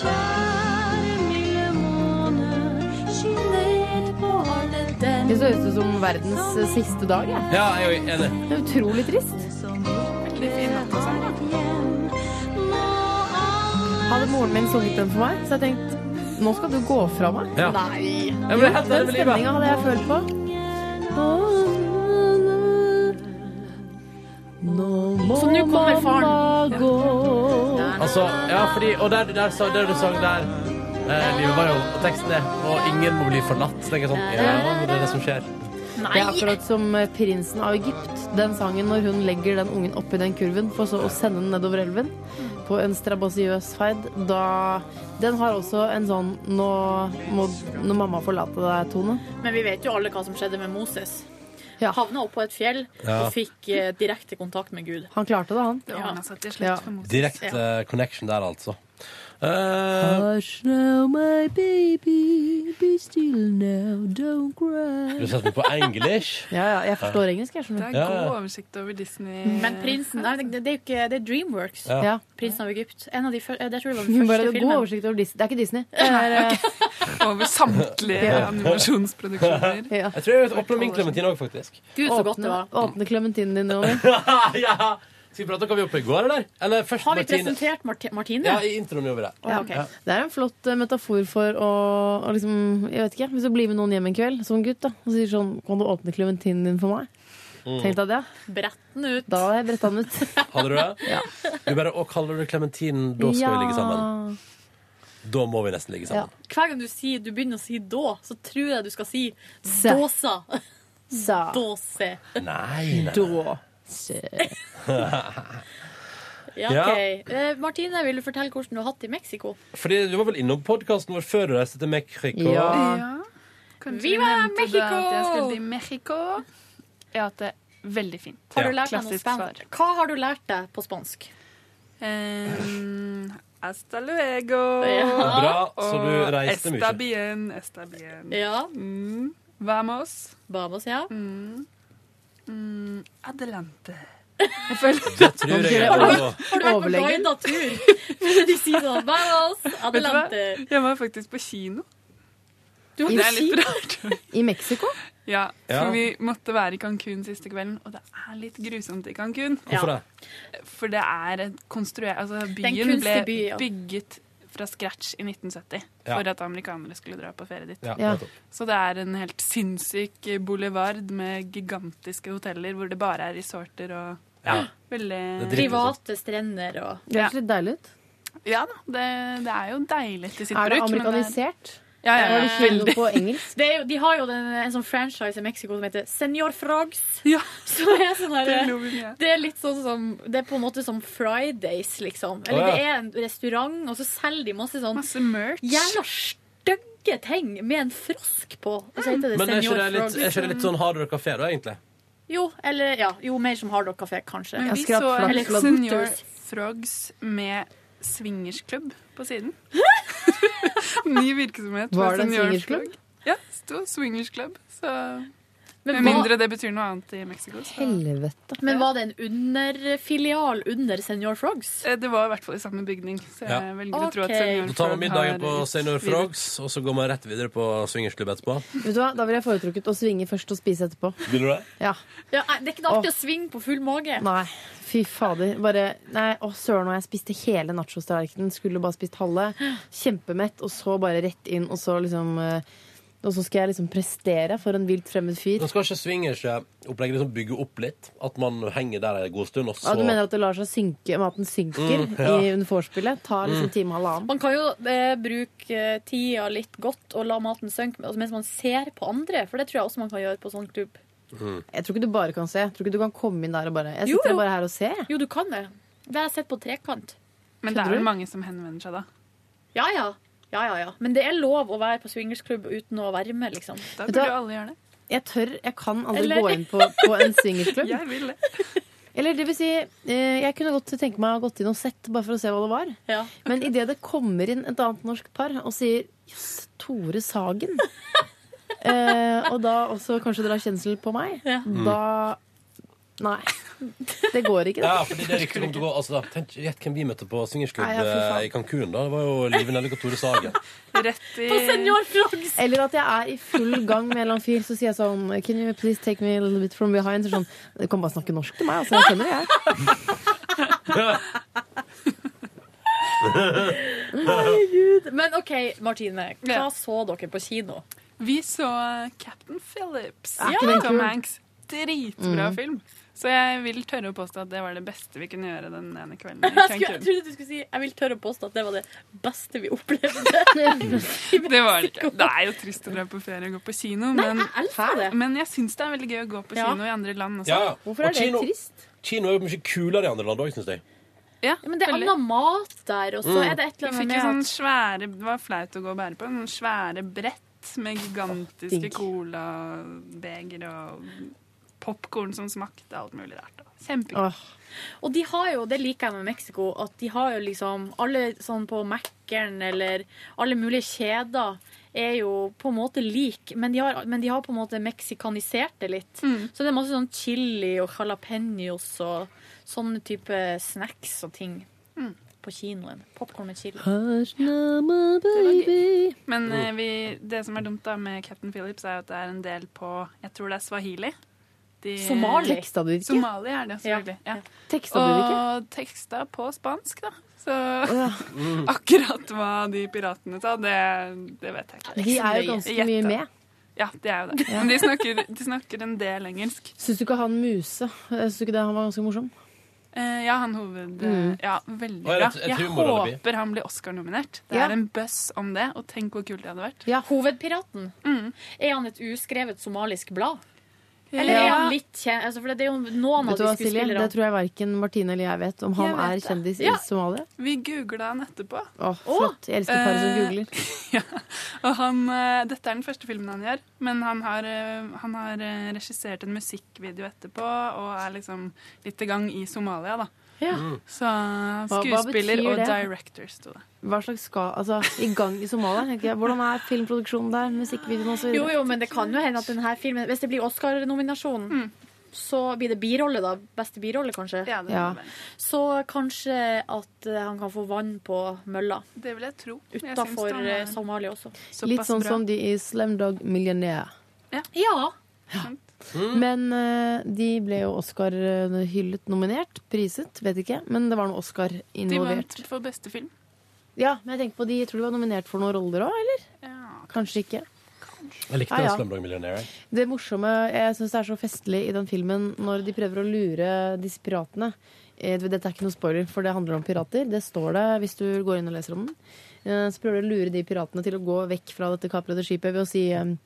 D: verdens eh, siste dag. Jeg.
K: Ja, jeg er enig.
D: Det er utrolig trist. altså. Hadde moren min sunget den for meg, så jeg tenkte nå skal du gå fra meg.
K: Ja.
D: Nei.
K: Jeg ble helt
D: den
K: ærlig med livet.
D: stemninga hadde jeg følt på. Så nå kommer faren.
K: Altså, ja, fordi Og der, der, sa- der du sang der eh, Livet var jo Og teksten er Og ingen må bli forlatt. Så tenker jeg sånn Ja, det er det som skjer.
D: Det er akkurat som eh, prinsen av Egypt. Den sangen når hun legger den ungen oppi den kurven for så å sende den nedover elven på en strabasiøs ferd, da Den har også en sånn Nå må når mamma forlate deg-tone.
C: Men vi vet jo alle hva som skjedde med Moses. Havna opp på et fjell
B: Ja.
C: og fikk eh, direkte kontakt med Gud.
D: Han klarte det, han.
C: Det ordna seg til
D: slutt Ja. for
B: Direkte eh, connection der, altså. Eh,
L: Hush now, my baby, be still now, don't
B: du
L: cry.
B: setter meg på english.
D: Ja, ja, jeg
B: forstår
D: engelsk. Jeg
E: Det er
B: Ja, ja.
E: god oversikt over Disney.
C: Men prinsen Nei, det, det er jo ikke Det er Dreamworks.
B: Ja. Ja.
C: Prinsen av Egypt. En av de før, jeg tror det var
D: Hun
C: den
D: bare
C: første
D: hadde god
C: filmen.
D: oversikt over Disney. Det er ikke Disney. Det er, eh,
E: Over samtlige
D: Ja.
E: animasjonsproduksjoner.
B: Jeg tror jeg vet åpne min klementin òg, faktisk.
D: Gud, så godt det var. Åpne klementinen din over.
B: ja. Skal vi prate om hva vi gjorde på i går, eller? Eller først
D: Har vi
B: Martine.
D: presentert Marti- Martine?
B: Ja, i introen gjorde vi det.
D: Ja. Det er en flott eh, metafor for å, å liksom, jeg vet ikke, Hvis du blir med noen hjem en kveld som gutt da, og sier sånn 'Kan du åpne klementinen din for meg?'
B: Mm.
D: Tenk deg det.
C: Brett den ut.
D: Da har jeg bretta den ut.
B: Hadde du det? Du bare, og kaller du klementin, da skal vi ligge sammen. Da må vi nesten ligge sammen.
C: Hver gang du, sier, du begynner å si da, så tror jeg du skal si
B: Se.
C: dåsa.
D: Sa.
C: Dåse.
B: Nei, nei.
D: Da.
C: Ja,
B: Ja.
C: ok. Eh, Martine, vil du fortelle hvordan du har hatt det i Mexico?
B: Fordi du var vel innom podkasten vår før du reiste til Mexico?
E: Kanskje
C: Viva
E: du nevnte det
C: Mexico!
E: At jeg skulle til Mexico. Jeg har hatt det veldig fint.
C: Har du lært deg noe
E: Klassisk
C: spansk?
E: svar.
C: Hva har du lært deg på spansk?
E: Em, hasta luego.
C: Ja.
B: Bra, så du
E: Og
B: reiste mye.
E: Esta bien, esta bien.
C: Ja.
E: Mm. Vamos.
C: Vamos, ja.
E: Mm. Mm. Adelante.
B: Det tror jeg jeg
E: Har du-
B: var.
C: Har du vært på
E: Overlegger.
C: guidet tur? De sier sånn Vamos,
E: Vet du hva?
C: adelante.
E: Jeg var faktisk på kino.
C: Du var
E: det
C: på
E: er litt rart.
D: I Mexico?
E: Ja,
D: Ja.
E: for vi måtte være i Cancún siste kvelden, og det er litt grusomt i Cancún.
B: Hvorfor det?
E: For det er et konstruert Altså,
C: Det er en
E: byen ble
C: kunstig by, ja.
E: bygget fra scratch i 1970
B: Ja.
E: for at amerikanere skulle dra på ferie dit.
B: Ja, Ja. nettopp.
E: Så det er en helt sinnssyk boulevard med gigantiske hoteller hvor det bare er resorter og
B: Ja.
E: veldig
B: Det er dritkoselig.
C: Private strender og
D: Det høres litt deilig ut.
E: Ja da, det, det er jo deilig til sitt
D: Er det
E: bruk. men
D: amerikanisert?
E: Ja, ja,
D: Var det ikke
E: veldig.
D: noe på engelsk?
C: Det er jo, de har jo den, en sånn franchise i Mexico som heter Senor Frogs. Som er sånn her,
E: Det lo vi mye.
C: det er litt sånn som Det er på en måte som Fridays, liksom.
E: Å,
C: Eller
E: ja.
C: det er en restaurant, og så selger de masse sånn
E: Masse merch.
C: Jævla stygge ting med en frosk på. Og så heter det
B: Men er ikke
C: Senor
B: det litt,
C: Frogs.
B: er ikke det litt sånn Har dere kafé, da, egentlig?
C: Jo, eller ja, jo mer som Hard Rock Café, kanskje.
E: Men vi så
C: Eller
E: en Senior
C: Hooters.
E: Frogs med swingersklubb på siden. Ny virksomhet.
D: Var
E: med
D: det en
E: Senior
D: swingersklubb?
E: Frog. Ja, det sto swingersklubb. Så
C: Men
E: Med
C: hva-
E: mindre det betyr noe annet i Mexico. Så.
D: Helvete.
C: Men var det en underfilial under Senior Frogs?
E: Eh, Det var i hvert fall i samme bygning, så jeg
B: Ja.
E: velger å tro at
C: Ok.
E: Senior
B: Da tar man
E: Frog
B: middagen på
E: har
B: Senior
E: videre.
B: Frogs, og så går man rett videre på swingersklubb etterpå.
D: Vet du hva? Da ville jeg foretrukket å svinge først og spise etterpå.
B: Vil du det?
D: Ja.
C: Ja, nei, det er ikke noe artig å svinge på full mage.
D: Nei, fy fader. Bare, nei, å søren, og jeg spiste hele nachostallerkenen. Skulle bare spist halve. Kjempemett, og så bare rett inn, og så liksom eh, Og så skal jeg liksom prestere for en vilt fremmed fyr.
B: Nå skal ikke swingersopplegget liksom bygge opp litt? At man henger der en god stund, og så
D: Ja, du mener at det lar seg synke, maten synker
B: Mm, ja.
D: i, under vorspielet? Tar liksom
B: Mm.
D: time og halvannen.
C: Man kan jo eh, bruke eh, tida litt godt og la maten synke altså, mens man ser på andre, for det tror jeg også man kan gjøre på sånn klubb.
D: Jeg tror ikke du bare kan se. Jeg tror ikke du kan komme inn der og bare Jeg
C: Jo,
D: sitter
C: jo.
D: bare her og ser.
C: Jo, du kan det. Det har jeg sett på trekant.
E: Men det er jo mange som henvender seg da.
C: Ja, ja. Ja, ja, ja. Men det er lov å være på swingersklubb uten å være med, liksom.
E: Da
D: Vet du burde hva?
E: alle gjøre det.
D: Jeg tør, jeg kan aldri
C: Eller-
D: gå inn på, på en swingersklubb.
E: Jeg vil det.
D: Eller det vil si, eh, jeg kunne godt tenke meg å ha gått inn og sett, bare for å se hva det var. Men idet det kommer inn et annet norsk par og sier 'jøss, Tore Sagen', eh, og da også kanskje dere har kjensel på meg, da Nei. Det går ikke,
B: Ja, fordi det ryktet kom til å gå altså, Tenk, Gjett hvem vi møtte på swingersklubb
D: Nei, ja, fy faen.
B: eh, i Cancún. Da. Det var jo Live Nellik og Tore Sagen.
E: Rett i
C: Eh,
D: Eller at jeg er i full gang med en eller annen fyr, så sier jeg sånn Can you please take me a little bit from behind? Så sånn, Du kan bare snakke norsk til meg, altså. Jeg skjønner det, jeg.
C: Herregud. Men OK, Martine. Hva
E: Ja.
C: så dere på kino?
E: Vi så Captain Phillips.
C: Er
E: Ja,
C: ikke den
E: Tom
C: kul?
E: Hanks. Dritbra
C: Mm.
E: film. Så jeg vil tørre å påstå at det var det beste vi kunne gjøre den ene kvelden.
C: Jeg, skulle,
E: i
C: jeg
E: Cancun.
C: trodde du skulle si Jeg vil tørre å påstå at det var det beste vi opplevde.
E: Det var det ikke. Det er jo trist å dra på ferie og gå på kino,
C: Nei,
E: men
C: jeg elsker det.
E: Men jeg syns det er veldig gøy å gå på
C: Ja.
E: kino i andre land også.
B: Ja, ja. Og kino- Kino er jo mye kulere i andre land òg, syns jeg.
E: Ja,
C: men det er
E: veldig.
C: annen mat der, og så
B: Mm.
C: er det et eller
E: Vi
C: annet
E: fikk
C: med
E: jo
C: at
E: sånn svære Det var flaut å gå og bære på. Noen svære brett med gigantiske
C: digg.
E: colabeger og popkorn som smakte alt mulig rart. da. Kjempegøy.
C: Og de har jo, det liker jeg med Mexico, at de har jo liksom alle sånn på Mækkern eller alle mulige kjeder er jo på en måte lik, men de har, men de har på en måte meksikanisert det litt.
D: Mm.
C: Så det er masse sånn chili og jalapeños og sånne type snacks og ting
D: Mm.
C: på kinoen. Popcorn med chili. Mm.
E: Men eh, vi, det som er dumt da med Captain Phillips, er jo at det er en del på Jeg tror det er swahili. De, eh,
D: Somali. Teksta du ikke?
E: Somali er det, selvfølgelig. Ja.
D: Teksta du ikke?
E: Og teksta på spansk, da. Så
D: Mm.
E: akkurat hva de piratene sa, det, det vet jeg ikke.
D: De er jo ganske mye
E: Gjette.
D: med.
E: Ja, de er jo det. Men de snakker, de snakker en del engelsk.
D: Syns du ikke han Muse eh, Syns du ikke det han var ganske morsom?
E: Eh, ja, han hoved...
D: Mm.
E: Ja, veldig
D: Og jeg
E: bra.
D: vet- jeg
E: Jeg
D: tror humoralibi.
E: håper han blir Oscar-nominert. Det
C: Ja.
E: er en buzz om det, og tenk hvor kult det hadde vært.
C: Hovedpiraten. Er han et uskrevet somalisk blad? Eller er
D: Mm. Ja.
C: han litt kjent? Altså, for det er jo noen
D: Vet
C: av
D: du
C: de
D: hva, Silje?
C: skuespillerne
D: Det tror jeg verken Martine eller jeg vet om han
E: Jeg vet
D: er
E: det.
D: kjendis
E: Ja.
D: i Somalia.
E: Vi googla han etterpå.
D: Å, flott. Jeg elsker par som
E: Eh,
D: googler.
E: Og han, eh, dette er den første filmen han gjør, men han har, eh, han har eh, regissert en musikkvideo etterpå og er liksom litt i gang i Somalia, da.
D: Ja.
E: Så eh,
D: hva
E: skuespiller
D: betyr
E: og
D: det?
E: director sto det.
D: Hva slags ska... Altså, i gang i Somalia? tenker jeg. Hvordan er filmproduksjonen der? Musikkvideoen og så
C: Jo,
D: videre?
C: jo, men det kan jo hende at denne filmen Hvis det blir Oscar-nominasjon, så blir det birolle, da. Beste birolle, kanskje.
D: det Ja. kan det være.
C: Så kanskje at eh, han kan få vann på mølla.
E: Det vil jeg tro. Jeg syns
C: Utafor
E: han er
C: Somalia også.
D: Litt eh, sånn som de i Slamdog Millionaire.
E: Ja.
D: Men eh, de ble jo Oscar eh, hyllet, nominert, priset, vet ikke. Men det var noe Oscar
E: De
D: involvert.
E: vant for beste film.
D: Ja, men jeg tenker på de, jeg tror de var nominert for noen roller òg, eller? Kanskje ikke.
B: Jeg likte
D: Ja, ja.
B: Slumdog Millionaire. jeg.
D: Det morsomme, jeg syns det er så festlig i den filmen når de prøver å lure disse piratene. Eh, Dette er ikke noe spoiler, for det handler om pirater. Det står det hvis du går inn og leser om den. Eh, Så prøver de å lure de piratene til å gå vekk fra dette kaprede skipet ved å si eh,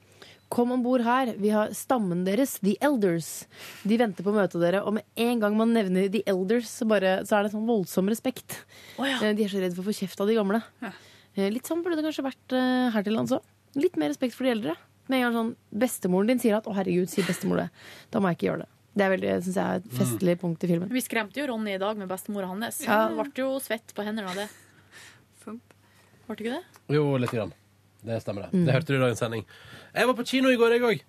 D: Kom om bord her. Vi har stammen deres, The Elders. De venter på å møte dere, og med en gang man nevner The Elders, så, bare, så er det sånn voldsom respekt. Eh, De er så redd for å få kjeft av de gamle. Eh, Litt sånn burde det kanskje vært eh, her til lands òg. Litt mer respekt for de eldre. Med en gang sånn, Bestemoren din sier at 'å, herregud, sier bestemor det'. Da må jeg ikke gjøre det. Det er veldig, synes jeg, er et festlig punkt i filmen.
C: Vi skremte jo Ronny i dag med bestemora hans.
D: Ja.
C: Han ble jo svett på hendene av det. Ble det ikke det?
B: Jo, litt grann. Det stemmer, det.
D: Mm.
B: Det hørte du i dagens sending. Jeg var på kino i går, jeg òg.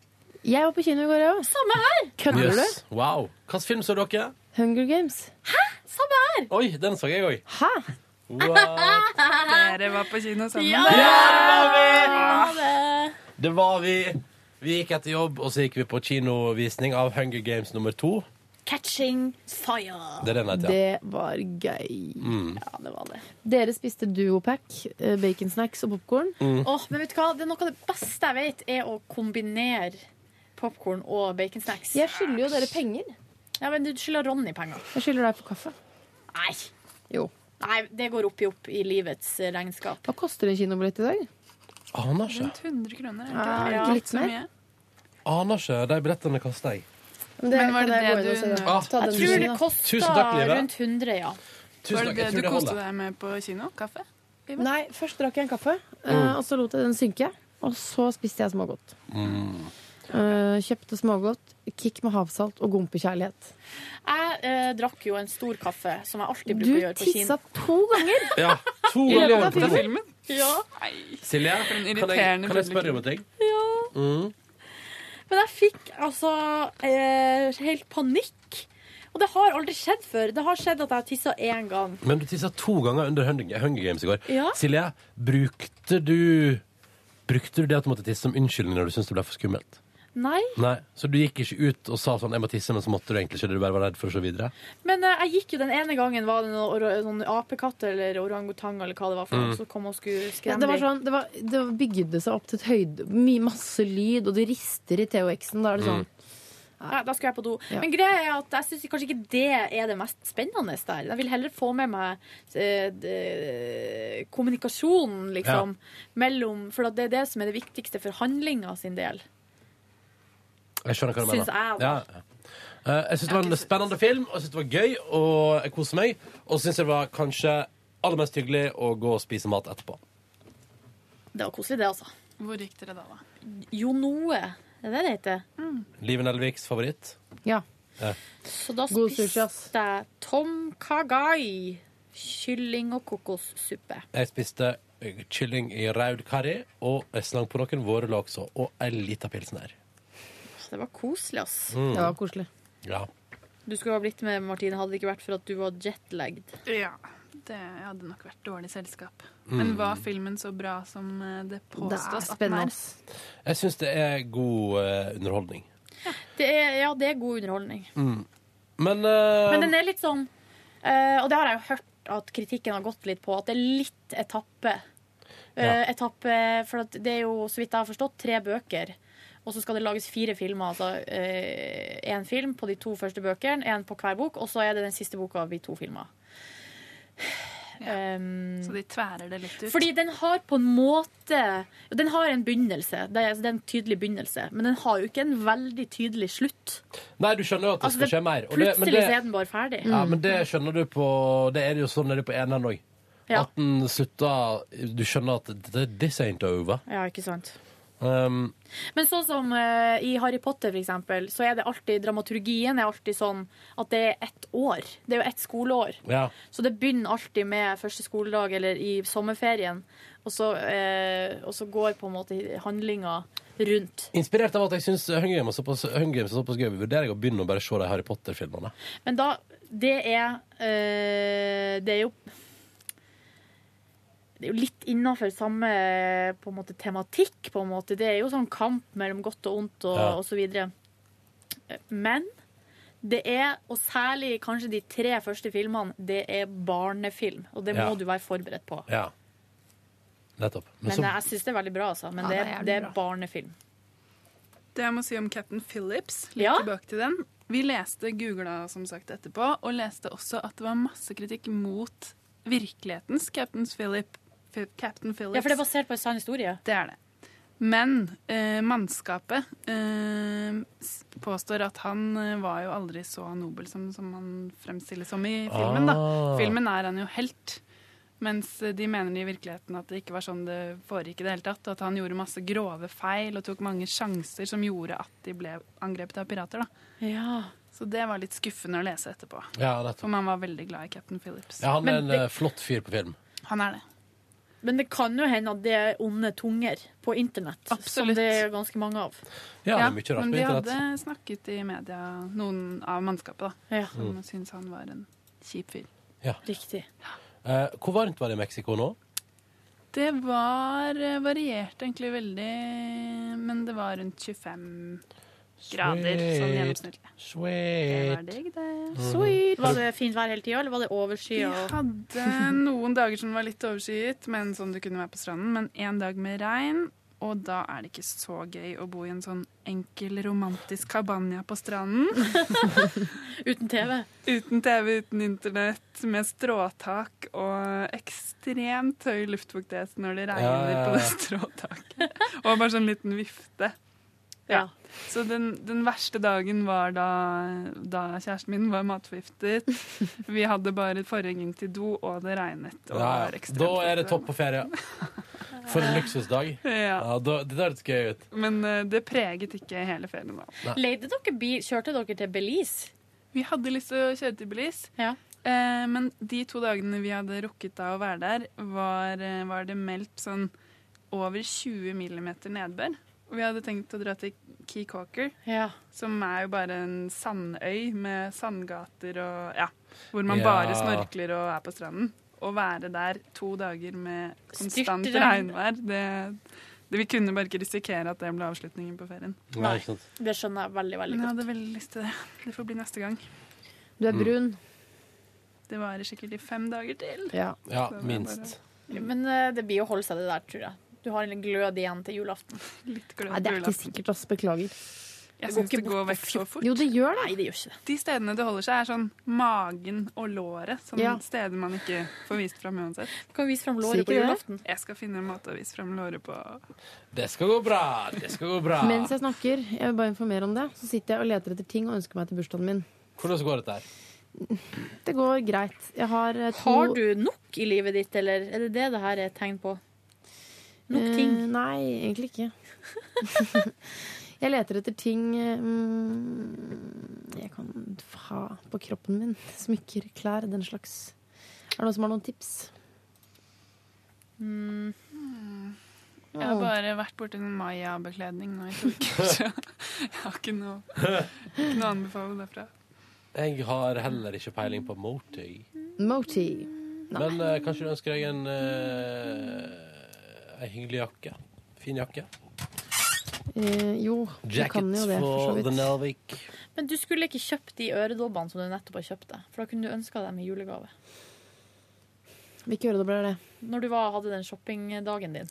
D: Jeg var på kino i går, jeg òg.
C: Samme her!
D: Kødder
B: Yes. Wow. Hvilken film så dere?
D: du? Hunger Games.
C: Samme her!
B: Oi, den så jeg òg.
D: Hæ?
B: Wow.
E: Dere var på kino sammen.
B: Ja,
E: Ja,
C: det var vi!
B: Det var vi. Vi gikk etter jobb, og så gikk vi på kinovisning av Hunger Games nummer to.
C: Catching fire.
B: Det er den heter, ja.
D: Det var gøy.
B: Mm.
C: Ja, det var det.
D: Dere spiste Duopack, eh, baconsnacks og popkorn.
B: Mm.
C: Åh, men vet du hva? Det er Noe av det beste jeg vet, er å kombinere popkorn og baconsnacks.
D: Jeg skylder jo dere penger.
C: Ja, men Du skylder Ronny penger.
D: Jeg skylder deg for kaffe.
C: Nei.
D: Jo.
C: Nei, Det går opp i opp i livets eh, regnskap.
D: Hva koster en kinobillett i dag?
B: Aner ikke.
E: Rundt 100 kroner. er
D: Ja,
E: det
D: Ah, ikke litt
E: så
D: mer?
E: mye?
B: Aner ikke. De billettene kasta jeg.
D: Men,
E: Men var det det du
B: Ah,
C: Jeg tror det
B: Tusen
C: kosta
B: takk, Live.
C: rundt 100, ja.
B: Tusen
E: Var
B: takk,
E: det
B: jeg
E: det
B: tror
E: du
B: det
E: koste
B: holder.
E: deg med på kino? Kaffe?
D: Nei, først drakk jeg en kaffe, eh,
B: Mm.
D: og så lot jeg den synke. Og så spiste jeg smågodt.
B: Mm.
D: Eh, kjøpte smågodt, kick med havsalt og gompekjærlighet.
C: Jeg eh, drakk jo en stor kaffe, som jeg alltid
D: Du
C: bruker å gjøre på
D: tissa
C: kino.
D: to ganger!
B: Ja, to
D: I løpet av
B: ganger. på
D: filmen?
B: to.
C: Ja.
B: Silje, kan jeg,
E: irriterende
B: kan jeg spørre om en ting?
C: Ja.
B: Mm.
C: Men jeg fikk altså eh, helt panikk. Og det har aldri skjedd før. Det har skjedd at jeg har tissa én gang.
B: Men du tissa to ganger under Hunger Hunger Games i går.
C: Ja.
B: Silje, brukte du Brukte du det at du måtte tisse som unnskyldning når du syntes det ble for skummelt?
C: Nei.
B: Nei, Så du gikk ikke ut og sa sånn 'jeg må tisse', men så måtte du egentlig ikke? Du bare var redd for å se videre?
C: Men eh, jeg gikk jo den ene gangen var det noen or sånn apekatt eller orangutang eller hva det var for noe
D: Mm.
C: som kom og skulle
D: Ja,
C: skremme
D: det, var
C: deg.
D: sånn, det, var, det var- bygde seg opp til et høyde Mye masse lyd, og det rister i THX-en. Da er det sånn
C: Ja, da skal jeg på do.
D: Ja.
C: Men greia er at jeg syns kanskje ikke det er det mest spennende der. Jeg vil heller få med meg eh, de- kommunikasjonen, liksom, mellom For at det er det som er det viktigste for handlinga sin del.
B: Jeg skjønner hva du
C: Syns
B: mener.
C: jeg, da.
B: Ja, ja. Eh, Jeg syns det var en spennende film, og jeg syns det var gøy, og jeg koser meg. Og så syns jeg det var kanskje aller mest hyggelig å gå og spise mat etterpå.
C: Det var koselig, det, altså.
E: Hvor gikk dere da, da?
C: Jo Noe. Det er det det heter.
B: Liven Elviks favoritt.
D: Ja.
B: Ja.
C: Så da
D: God sushi,
C: spiste jeg tom kagai, kylling og kokossuppe.
B: Jeg spiste eh, kylling i raud karri, og jeg slang på noen vårløk også, og ei lita pilsner.
C: Så det var koselig, ass.
B: Mm. Det var
D: koselig.
B: Ja.
C: Du skulle ha blitt med, Martine, hadde det ikke vært for at du var jetlagged.
E: Ja. Det hadde nok vært dårlig selskap.
B: Mm.
E: Men var filmen så bra som eh, det påstås at den er?
B: Jeg syns det er god eh, underholdning.
C: Det er, ja, det er god underholdning.
B: Mm. Men, eh,
C: Men den er litt sånn eh, Og det har jeg jo hørt at kritikken har gått litt på, at det er litt etappe. Eh,
B: Ja.
C: etappe for at det er jo, så vidt jeg har forstått, tre bøker. Og så skal det lages fire filmer. Altså én film på de to første bøkene, én på hver bok, og så er det den siste boka av de to filmer. Um,
E: Så de tværer det litt ut.
C: Fordi den har på en måte Den har en begynnelse. Det er, altså, det er en tydelig begynnelse, men den har jo ikke en veldig tydelig slutt.
B: Nei, du skjønner jo at det
C: Altså,
B: skal
C: det-
B: skje mer. og det- men
C: Plutselig
B: det-
C: så er den bare ferdig.
B: Ja, men det skjønner du på Det er det jo sånn er det på eneren òg.
C: Ja.
B: At den slutter Du skjønner at det- this ain't over.
C: Ja, ikke sant.
B: Um,
C: Men sånn som eh, i Harry Potter, for eksempel, så er det alltid dramaturgien er alltid sånn at det er ett år. Det er jo ett skoleår.
B: ja.
C: Så det begynner alltid med første skoledag eller i sommerferien, og så, eh, og så går på en måte handlinga rundt.
B: Inspirert av at jeg syns Hunger Games er såpass, Hunger Games er såpass gøy, vurderer jeg å begynne å bare se de Harry Potter-filmene.
C: Men da Det er eh, Det er jo det er jo litt innafor samme på en måte, tematikk, på en måte. Det er jo sånn kamp mellom godt og ondt og,
E: Ja.
C: og så videre. Men det er, og særlig kanskje de tre første filmene, det er barnefilm. Og det må
B: Ja.
C: du være forberedt på.
B: Ja. Nettopp.
C: Men,
B: så-
C: jeg syns det er veldig bra, altså. Men
E: Ja,
C: det,
E: det er
C: er,
E: jævlig
C: det er
E: bra.
C: barnefilm.
E: Det jeg må si om Captain Phillips, litt tilbake til den. Vi leste googla som sagt etterpå, og leste også at det var masse kritikk mot virkelighetens Captain, Philip, Fi- Captain Phillips.
C: Ja, for det er basert på en sann historie.
E: Det er det. Men eh, mannskapet eh, s- påstår at han eh, var jo aldri så nobel som, som han fremstilles som i filmen. da.
C: Ah.
E: Filmen er han jo helt, mens eh, de mener i virkeligheten at det ikke var sånn det foregikk i det hele tatt. og At han gjorde masse grove feil og tok mange sjanser som gjorde at de ble angrepet av pirater. da. Så det var litt skuffende å lese etterpå.
B: Ja, nettopp.
E: For man var veldig glad i Captain Phillips.
B: Ja, han er
C: Men
B: en
C: det-
B: eh, flott fyr på film.
E: Han er det.
C: Men det kan jo hende at det er onde tunger på internett, som det er ganske mange av.
B: Ja, det er mye rart
E: men
B: på
E: de
B: internett.
E: hadde snakket i media, noen av mannskapet, da,
C: Ja.
E: som
B: Mm.
E: syntes han var en kjip fyr.
B: Ja.
C: Riktig.
B: Eh, hvor varmt var det i Mexico nå?
E: Det var eh, varierte egentlig veldig, men det var rundt 25 grader sånn gjennomsnittlig. Det var
B: Sweet.
E: digg, det.
B: Mhm. Sweet.
C: Var det fint vær hele tida, eller var det
E: Vi
C: overskya? og-
E: hadde noen dager som var litt overskyet, men som du kunne være på stranden. Men én dag med regn, og da er det ikke så gøy å bo i en sånn enkel, romantisk cabana på stranden.
C: uten TV?
E: Uten TV, uten internett, med stråtak og ekstremt høy luftfuktighet når det regner
M: ja,
E: på det
M: ja.
E: stråtaket. Og bare sånn liten vifte. Ja. Så den, den verste dagen var da, da kjæresten min var matforgiftet. Vi hadde bare forhengen til do, og det regnet. Og det
B: Ja,
E: var
B: ja.
E: ekstremt
B: da er det topp på ferie. For en luksusdag.
E: Ja.
B: da, det der hørtes gøy ut.
E: Men eh, det preget ikke hele ferien da.
B: Nei.
C: Leide dere bil? Kjørte dere til Belize?
E: Vi hadde lyst til å kjøre til Belize, eh, men de to dagene vi hadde rukket da å være der, var, eh, var det meldt sånn over 20 millimeter nedbør. Vi hadde tenkt å dra til Key Cawker, som er jo bare en sandøy med sandgater og ja, hvor man
C: Ja.
E: bare snorkler og er på stranden. Å være der to dager med konstant
C: Styrtregn.
E: regnvær, det, det Vi kunne bare ikke risikere at det ble avslutningen på ferien.
C: Nei, ikke sant. Det skjønner jeg veldig, veldig
E: Men jeg
C: godt.
E: hadde veldig lyst til det. Det får bli neste gang.
D: Du
B: Mm.
D: er brun.
E: Det varer sikkert i fem dager til.
D: Ja.
B: Ja,
E: Så det er
B: minst.
C: Men eh, det blir å holde seg det der, tror jeg. Du har en glød igjen til julaften.
E: Litt
D: Nei, det er ikke sikkert, ass. Beklager.
E: Jeg syns det går vekk så fort.
D: Jo, det gjør det.
C: Nei, det gjør ikke det.
E: De stedene det holder seg, er sånn magen og låret. Sånne
C: Ja.
E: steder man ikke får vist fram uansett.
C: Kan vise fram låret på julaften.
E: Jeg skal finne en måte å vise fram låret på.
B: Det skal gå bra! Det skal gå bra.
D: Mens jeg snakker, jeg vil bare informere om det, så sitter jeg og leter etter ting og ønsker meg til bursdagen min.
B: Hvordan går dette her?
D: Det går greit. Jeg har eh, to
C: Har du nok i livet ditt, eller er det det det her er et tegn på? Nok ting?
D: Eh, nei, egentlig ikke. jeg leter etter ting eh, mm, jeg kan ha på kroppen min. Smykker, klær, den slags. Er det noen som har noen tips?
E: Jeg har bare vært borti en Maya-bekledning nå i to uker, så jeg har ikke noe, ikke noe å anbefale derfra.
B: Jeg har heller ikke peiling på Moti.
D: Moti.
B: Men eh, kanskje du ønsker deg en eh, En hyggelig jakke? Fin jakke?
D: Eh, jo, du
B: Jacket
D: kan jo det, for så
B: for the
D: vidt.
B: Nelvik.
C: Men du skulle ikke kjøpt de øredobbene som du nettopp har kjøpt deg, for da kunne du ønska dem i julegave.
D: Hvilke øredobber er det?
C: Når du var, hadde den shoppingdagen din.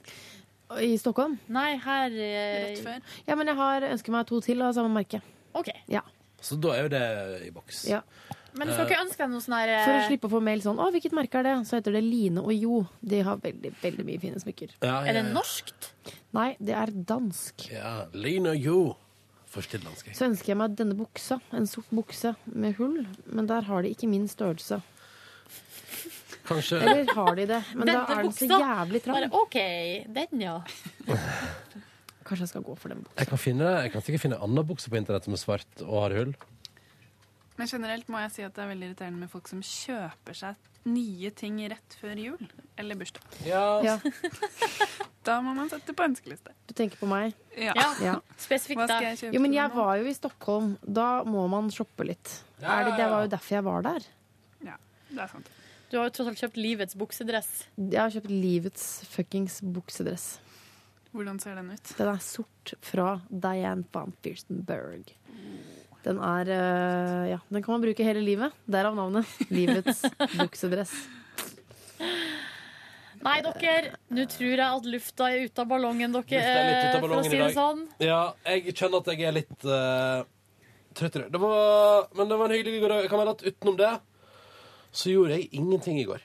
D: I Stockholm?
C: Nei, her eh,
D: Rett før. Ja, men jeg har ønsker meg to til av samme merke.
C: OK.
D: Ja.
B: Så da er jo det i boks.
D: Ja.
C: Men du
B: Eh,
C: skal ikke ønske deg noe sånn her
D: For å slippe å få mail sånn 'Å, hvilket merke er det?' Så heter det Line og Jo. De har veldig veldig mye fine smykker.
B: Ja, ja, Er det ja.
C: norskt?
D: Nei, det er dansk.
B: Ja, Lina Jo. Forstidlandsk.
D: Så ønsker jeg meg denne buksa. En sort bukse med hull. Men der har de ikke min størrelse.
B: Kanskje
D: Eller har de det? Men da
C: Denne
D: er den så
C: buksa.
D: jævlig trang.
C: Bare, OK, den, ja.
D: Kanskje jeg skal gå for den buksa.
B: Jeg kan, finne, jeg kan sikkert finne en annen bukse på internett som er svart og har hull.
E: Men generelt må jeg si at det er veldig irriterende med folk som kjøper seg nye ting rett før jul eller bursdag.
D: Ja.
E: Da må man sette på ønskeliste.
D: Du tenker på meg?
E: Ja.
D: Ja.
C: Spesifikt
E: Hva skal jeg kjøpe
D: Jo, men
E: til
D: jeg
E: meg nå?
D: var jo i Stockholm. Da må man shoppe litt.
E: Ja,
D: Er det,
E: ja,
D: det
E: ja.
D: var jo derfor jeg var der.
E: Ja, det er sant.
C: Du har jo tross alt kjøpt livets buksedress.
D: Jeg har kjøpt livets fuckings buksedress.
E: Hvordan ser den ut?
D: Den er sort fra Diane van Fierstenberg. Den er eh, Ja, den kan man bruke hele livet. Derav navnet. Livets buksedress.
C: Nei, dere, nå tror jeg at lufta er ute av ballongen, dere.
B: Lufta er litt ut av
C: eh, for å
B: ballongen
C: si
B: i
C: det
B: dag.
C: sånn.
B: Ja, jeg kjenner at jeg er litt eh, trøtt i dag. Det var, men det var en hyggelig god dag. Jeg kan melde at utenom det så gjorde jeg ingenting i går.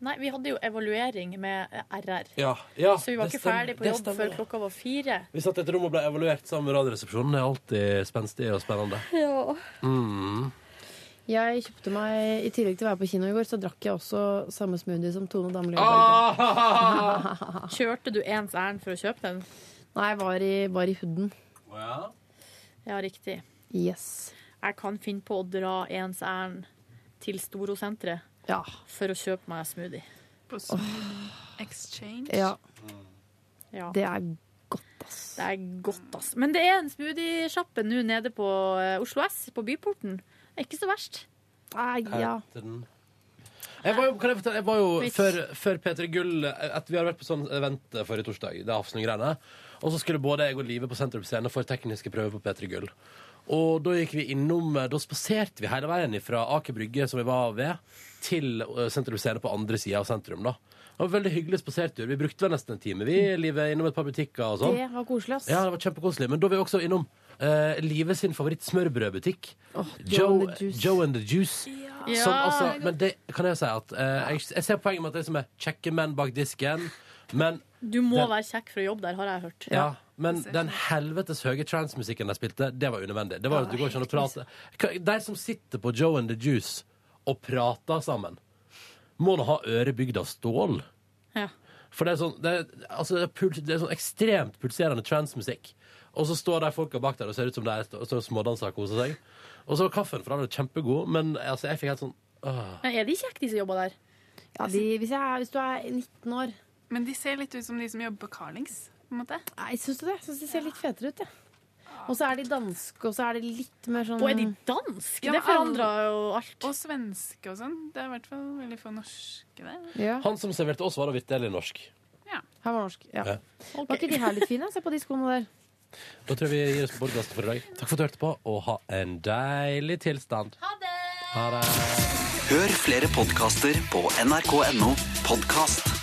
C: Nei, vi hadde jo evaluering med RR.
B: Ja, ja,
C: så vi var
B: det
C: ikke
B: stemmer.
C: ferdig på
B: Det
C: jobb
B: stemmer,
C: før
B: ja.
C: klokka var fire.
B: Vi satt i et rom og ble evaluert sammen med Radioresepsjonen. Det er alltid spenstig og spennende.
C: Ja.
B: Mm.
D: Jeg kjøpte meg, I tillegg til å være på kino i går, så drakk jeg også samme smoothie som Tone Damli.
C: Ah! Kjørte du ens ærend for å kjøpe den?
D: Nei, jeg var i, var i hooden.
C: Ja, riktig.
D: Yes.
C: Jeg kan finne på å dra ens ærend til Storosenteret
D: ja.
C: for å kjøpe meg smoothie.
E: På Smoothie Exchange?
D: Ja.
C: Ja.
D: Det er godt, ass.
C: Det er godt, ass. Men det er en smoothie-sjappe nå nede på eh, Oslo S, på Byporten. Det er ikke så verst.
D: Nei,
B: Heter den. Jeg var jo, kan jeg fortelle, jeg var jo
C: Hvis-
B: før, før P3 Gull at Vi hadde vært på sånn event forrige torsdag. Det er Hafslund-greiene. Og så skulle både jeg og Live på Sentrum Scene for tekniske prøver på P3 Gull. Og da gikk vi innom eh, Da spaserte vi hele veien fra Aker Brygge, som vi var ved, til eh, Sentrum Scene på andre sida av sentrum. da det var en Veldig hyggelig spasertur. Vi brukte vel nesten en time, vi, Live, innom et par butikker og sånn.
D: Det var koselig, ass.
B: Ja, det var kjempekoselig. Men da var vi også innom uh, Live sin favoritt-smørbrødbutikk.
D: Joe and the Juice.
B: Joe and the Juice.
D: Ja.
B: Som altså, men det kan jeg si at eh, jeg, jeg ser poenget med at det er som er kjekke menn bak disken, men
C: Du må
B: den,
C: være kjekk for å jobbe der, har jeg hørt.
B: ja, men den helvetes høye transmusikken de spilte, det var unødvendig. Det var,
C: Ja,
B: du går ikke an å prate. Hva- De som sitter på Joe and the Juice og prater sammen, må nå ha øret bygd av stål.
C: Ja.
B: For det er sånn, det er, altså, det er, puls, det er sånn ekstremt pulserende transmusikk. Og så står de folka bak der og ser ut som de er- står og smådanser og koser seg. Og så var kaffen for dem kjempegod, men altså, jeg fikk helt sånn åh.
C: Men er de kjekke, de som jobber der?
D: hvis, du er 19 år
E: Men de ser litt ut som de som jobber på Carlings. på en måte.
D: Nei, syns du det? Jeg Syns de ser litt fetere ut, jeg. Og så er de danske, og så er de litt mer sånn
E: Og er de
B: Mm.
D: danske?
E: Ja,
N: jo alt.
E: Og svenske og sånn. Det er i hvert fall veldig få norske der.
B: Han som serverte oss, var da vitterlig norsk.
D: Han var norsk, ja.
B: Ja.
D: Var ikke de her litt fine? Se på de skoene der.
B: Da tror jeg vi gir oss på podkasten for i dag. Takk for at du hørte på, og ha en deilig tilstand. Ha det.
O: Hør flere podkaster på nrk.no podkast.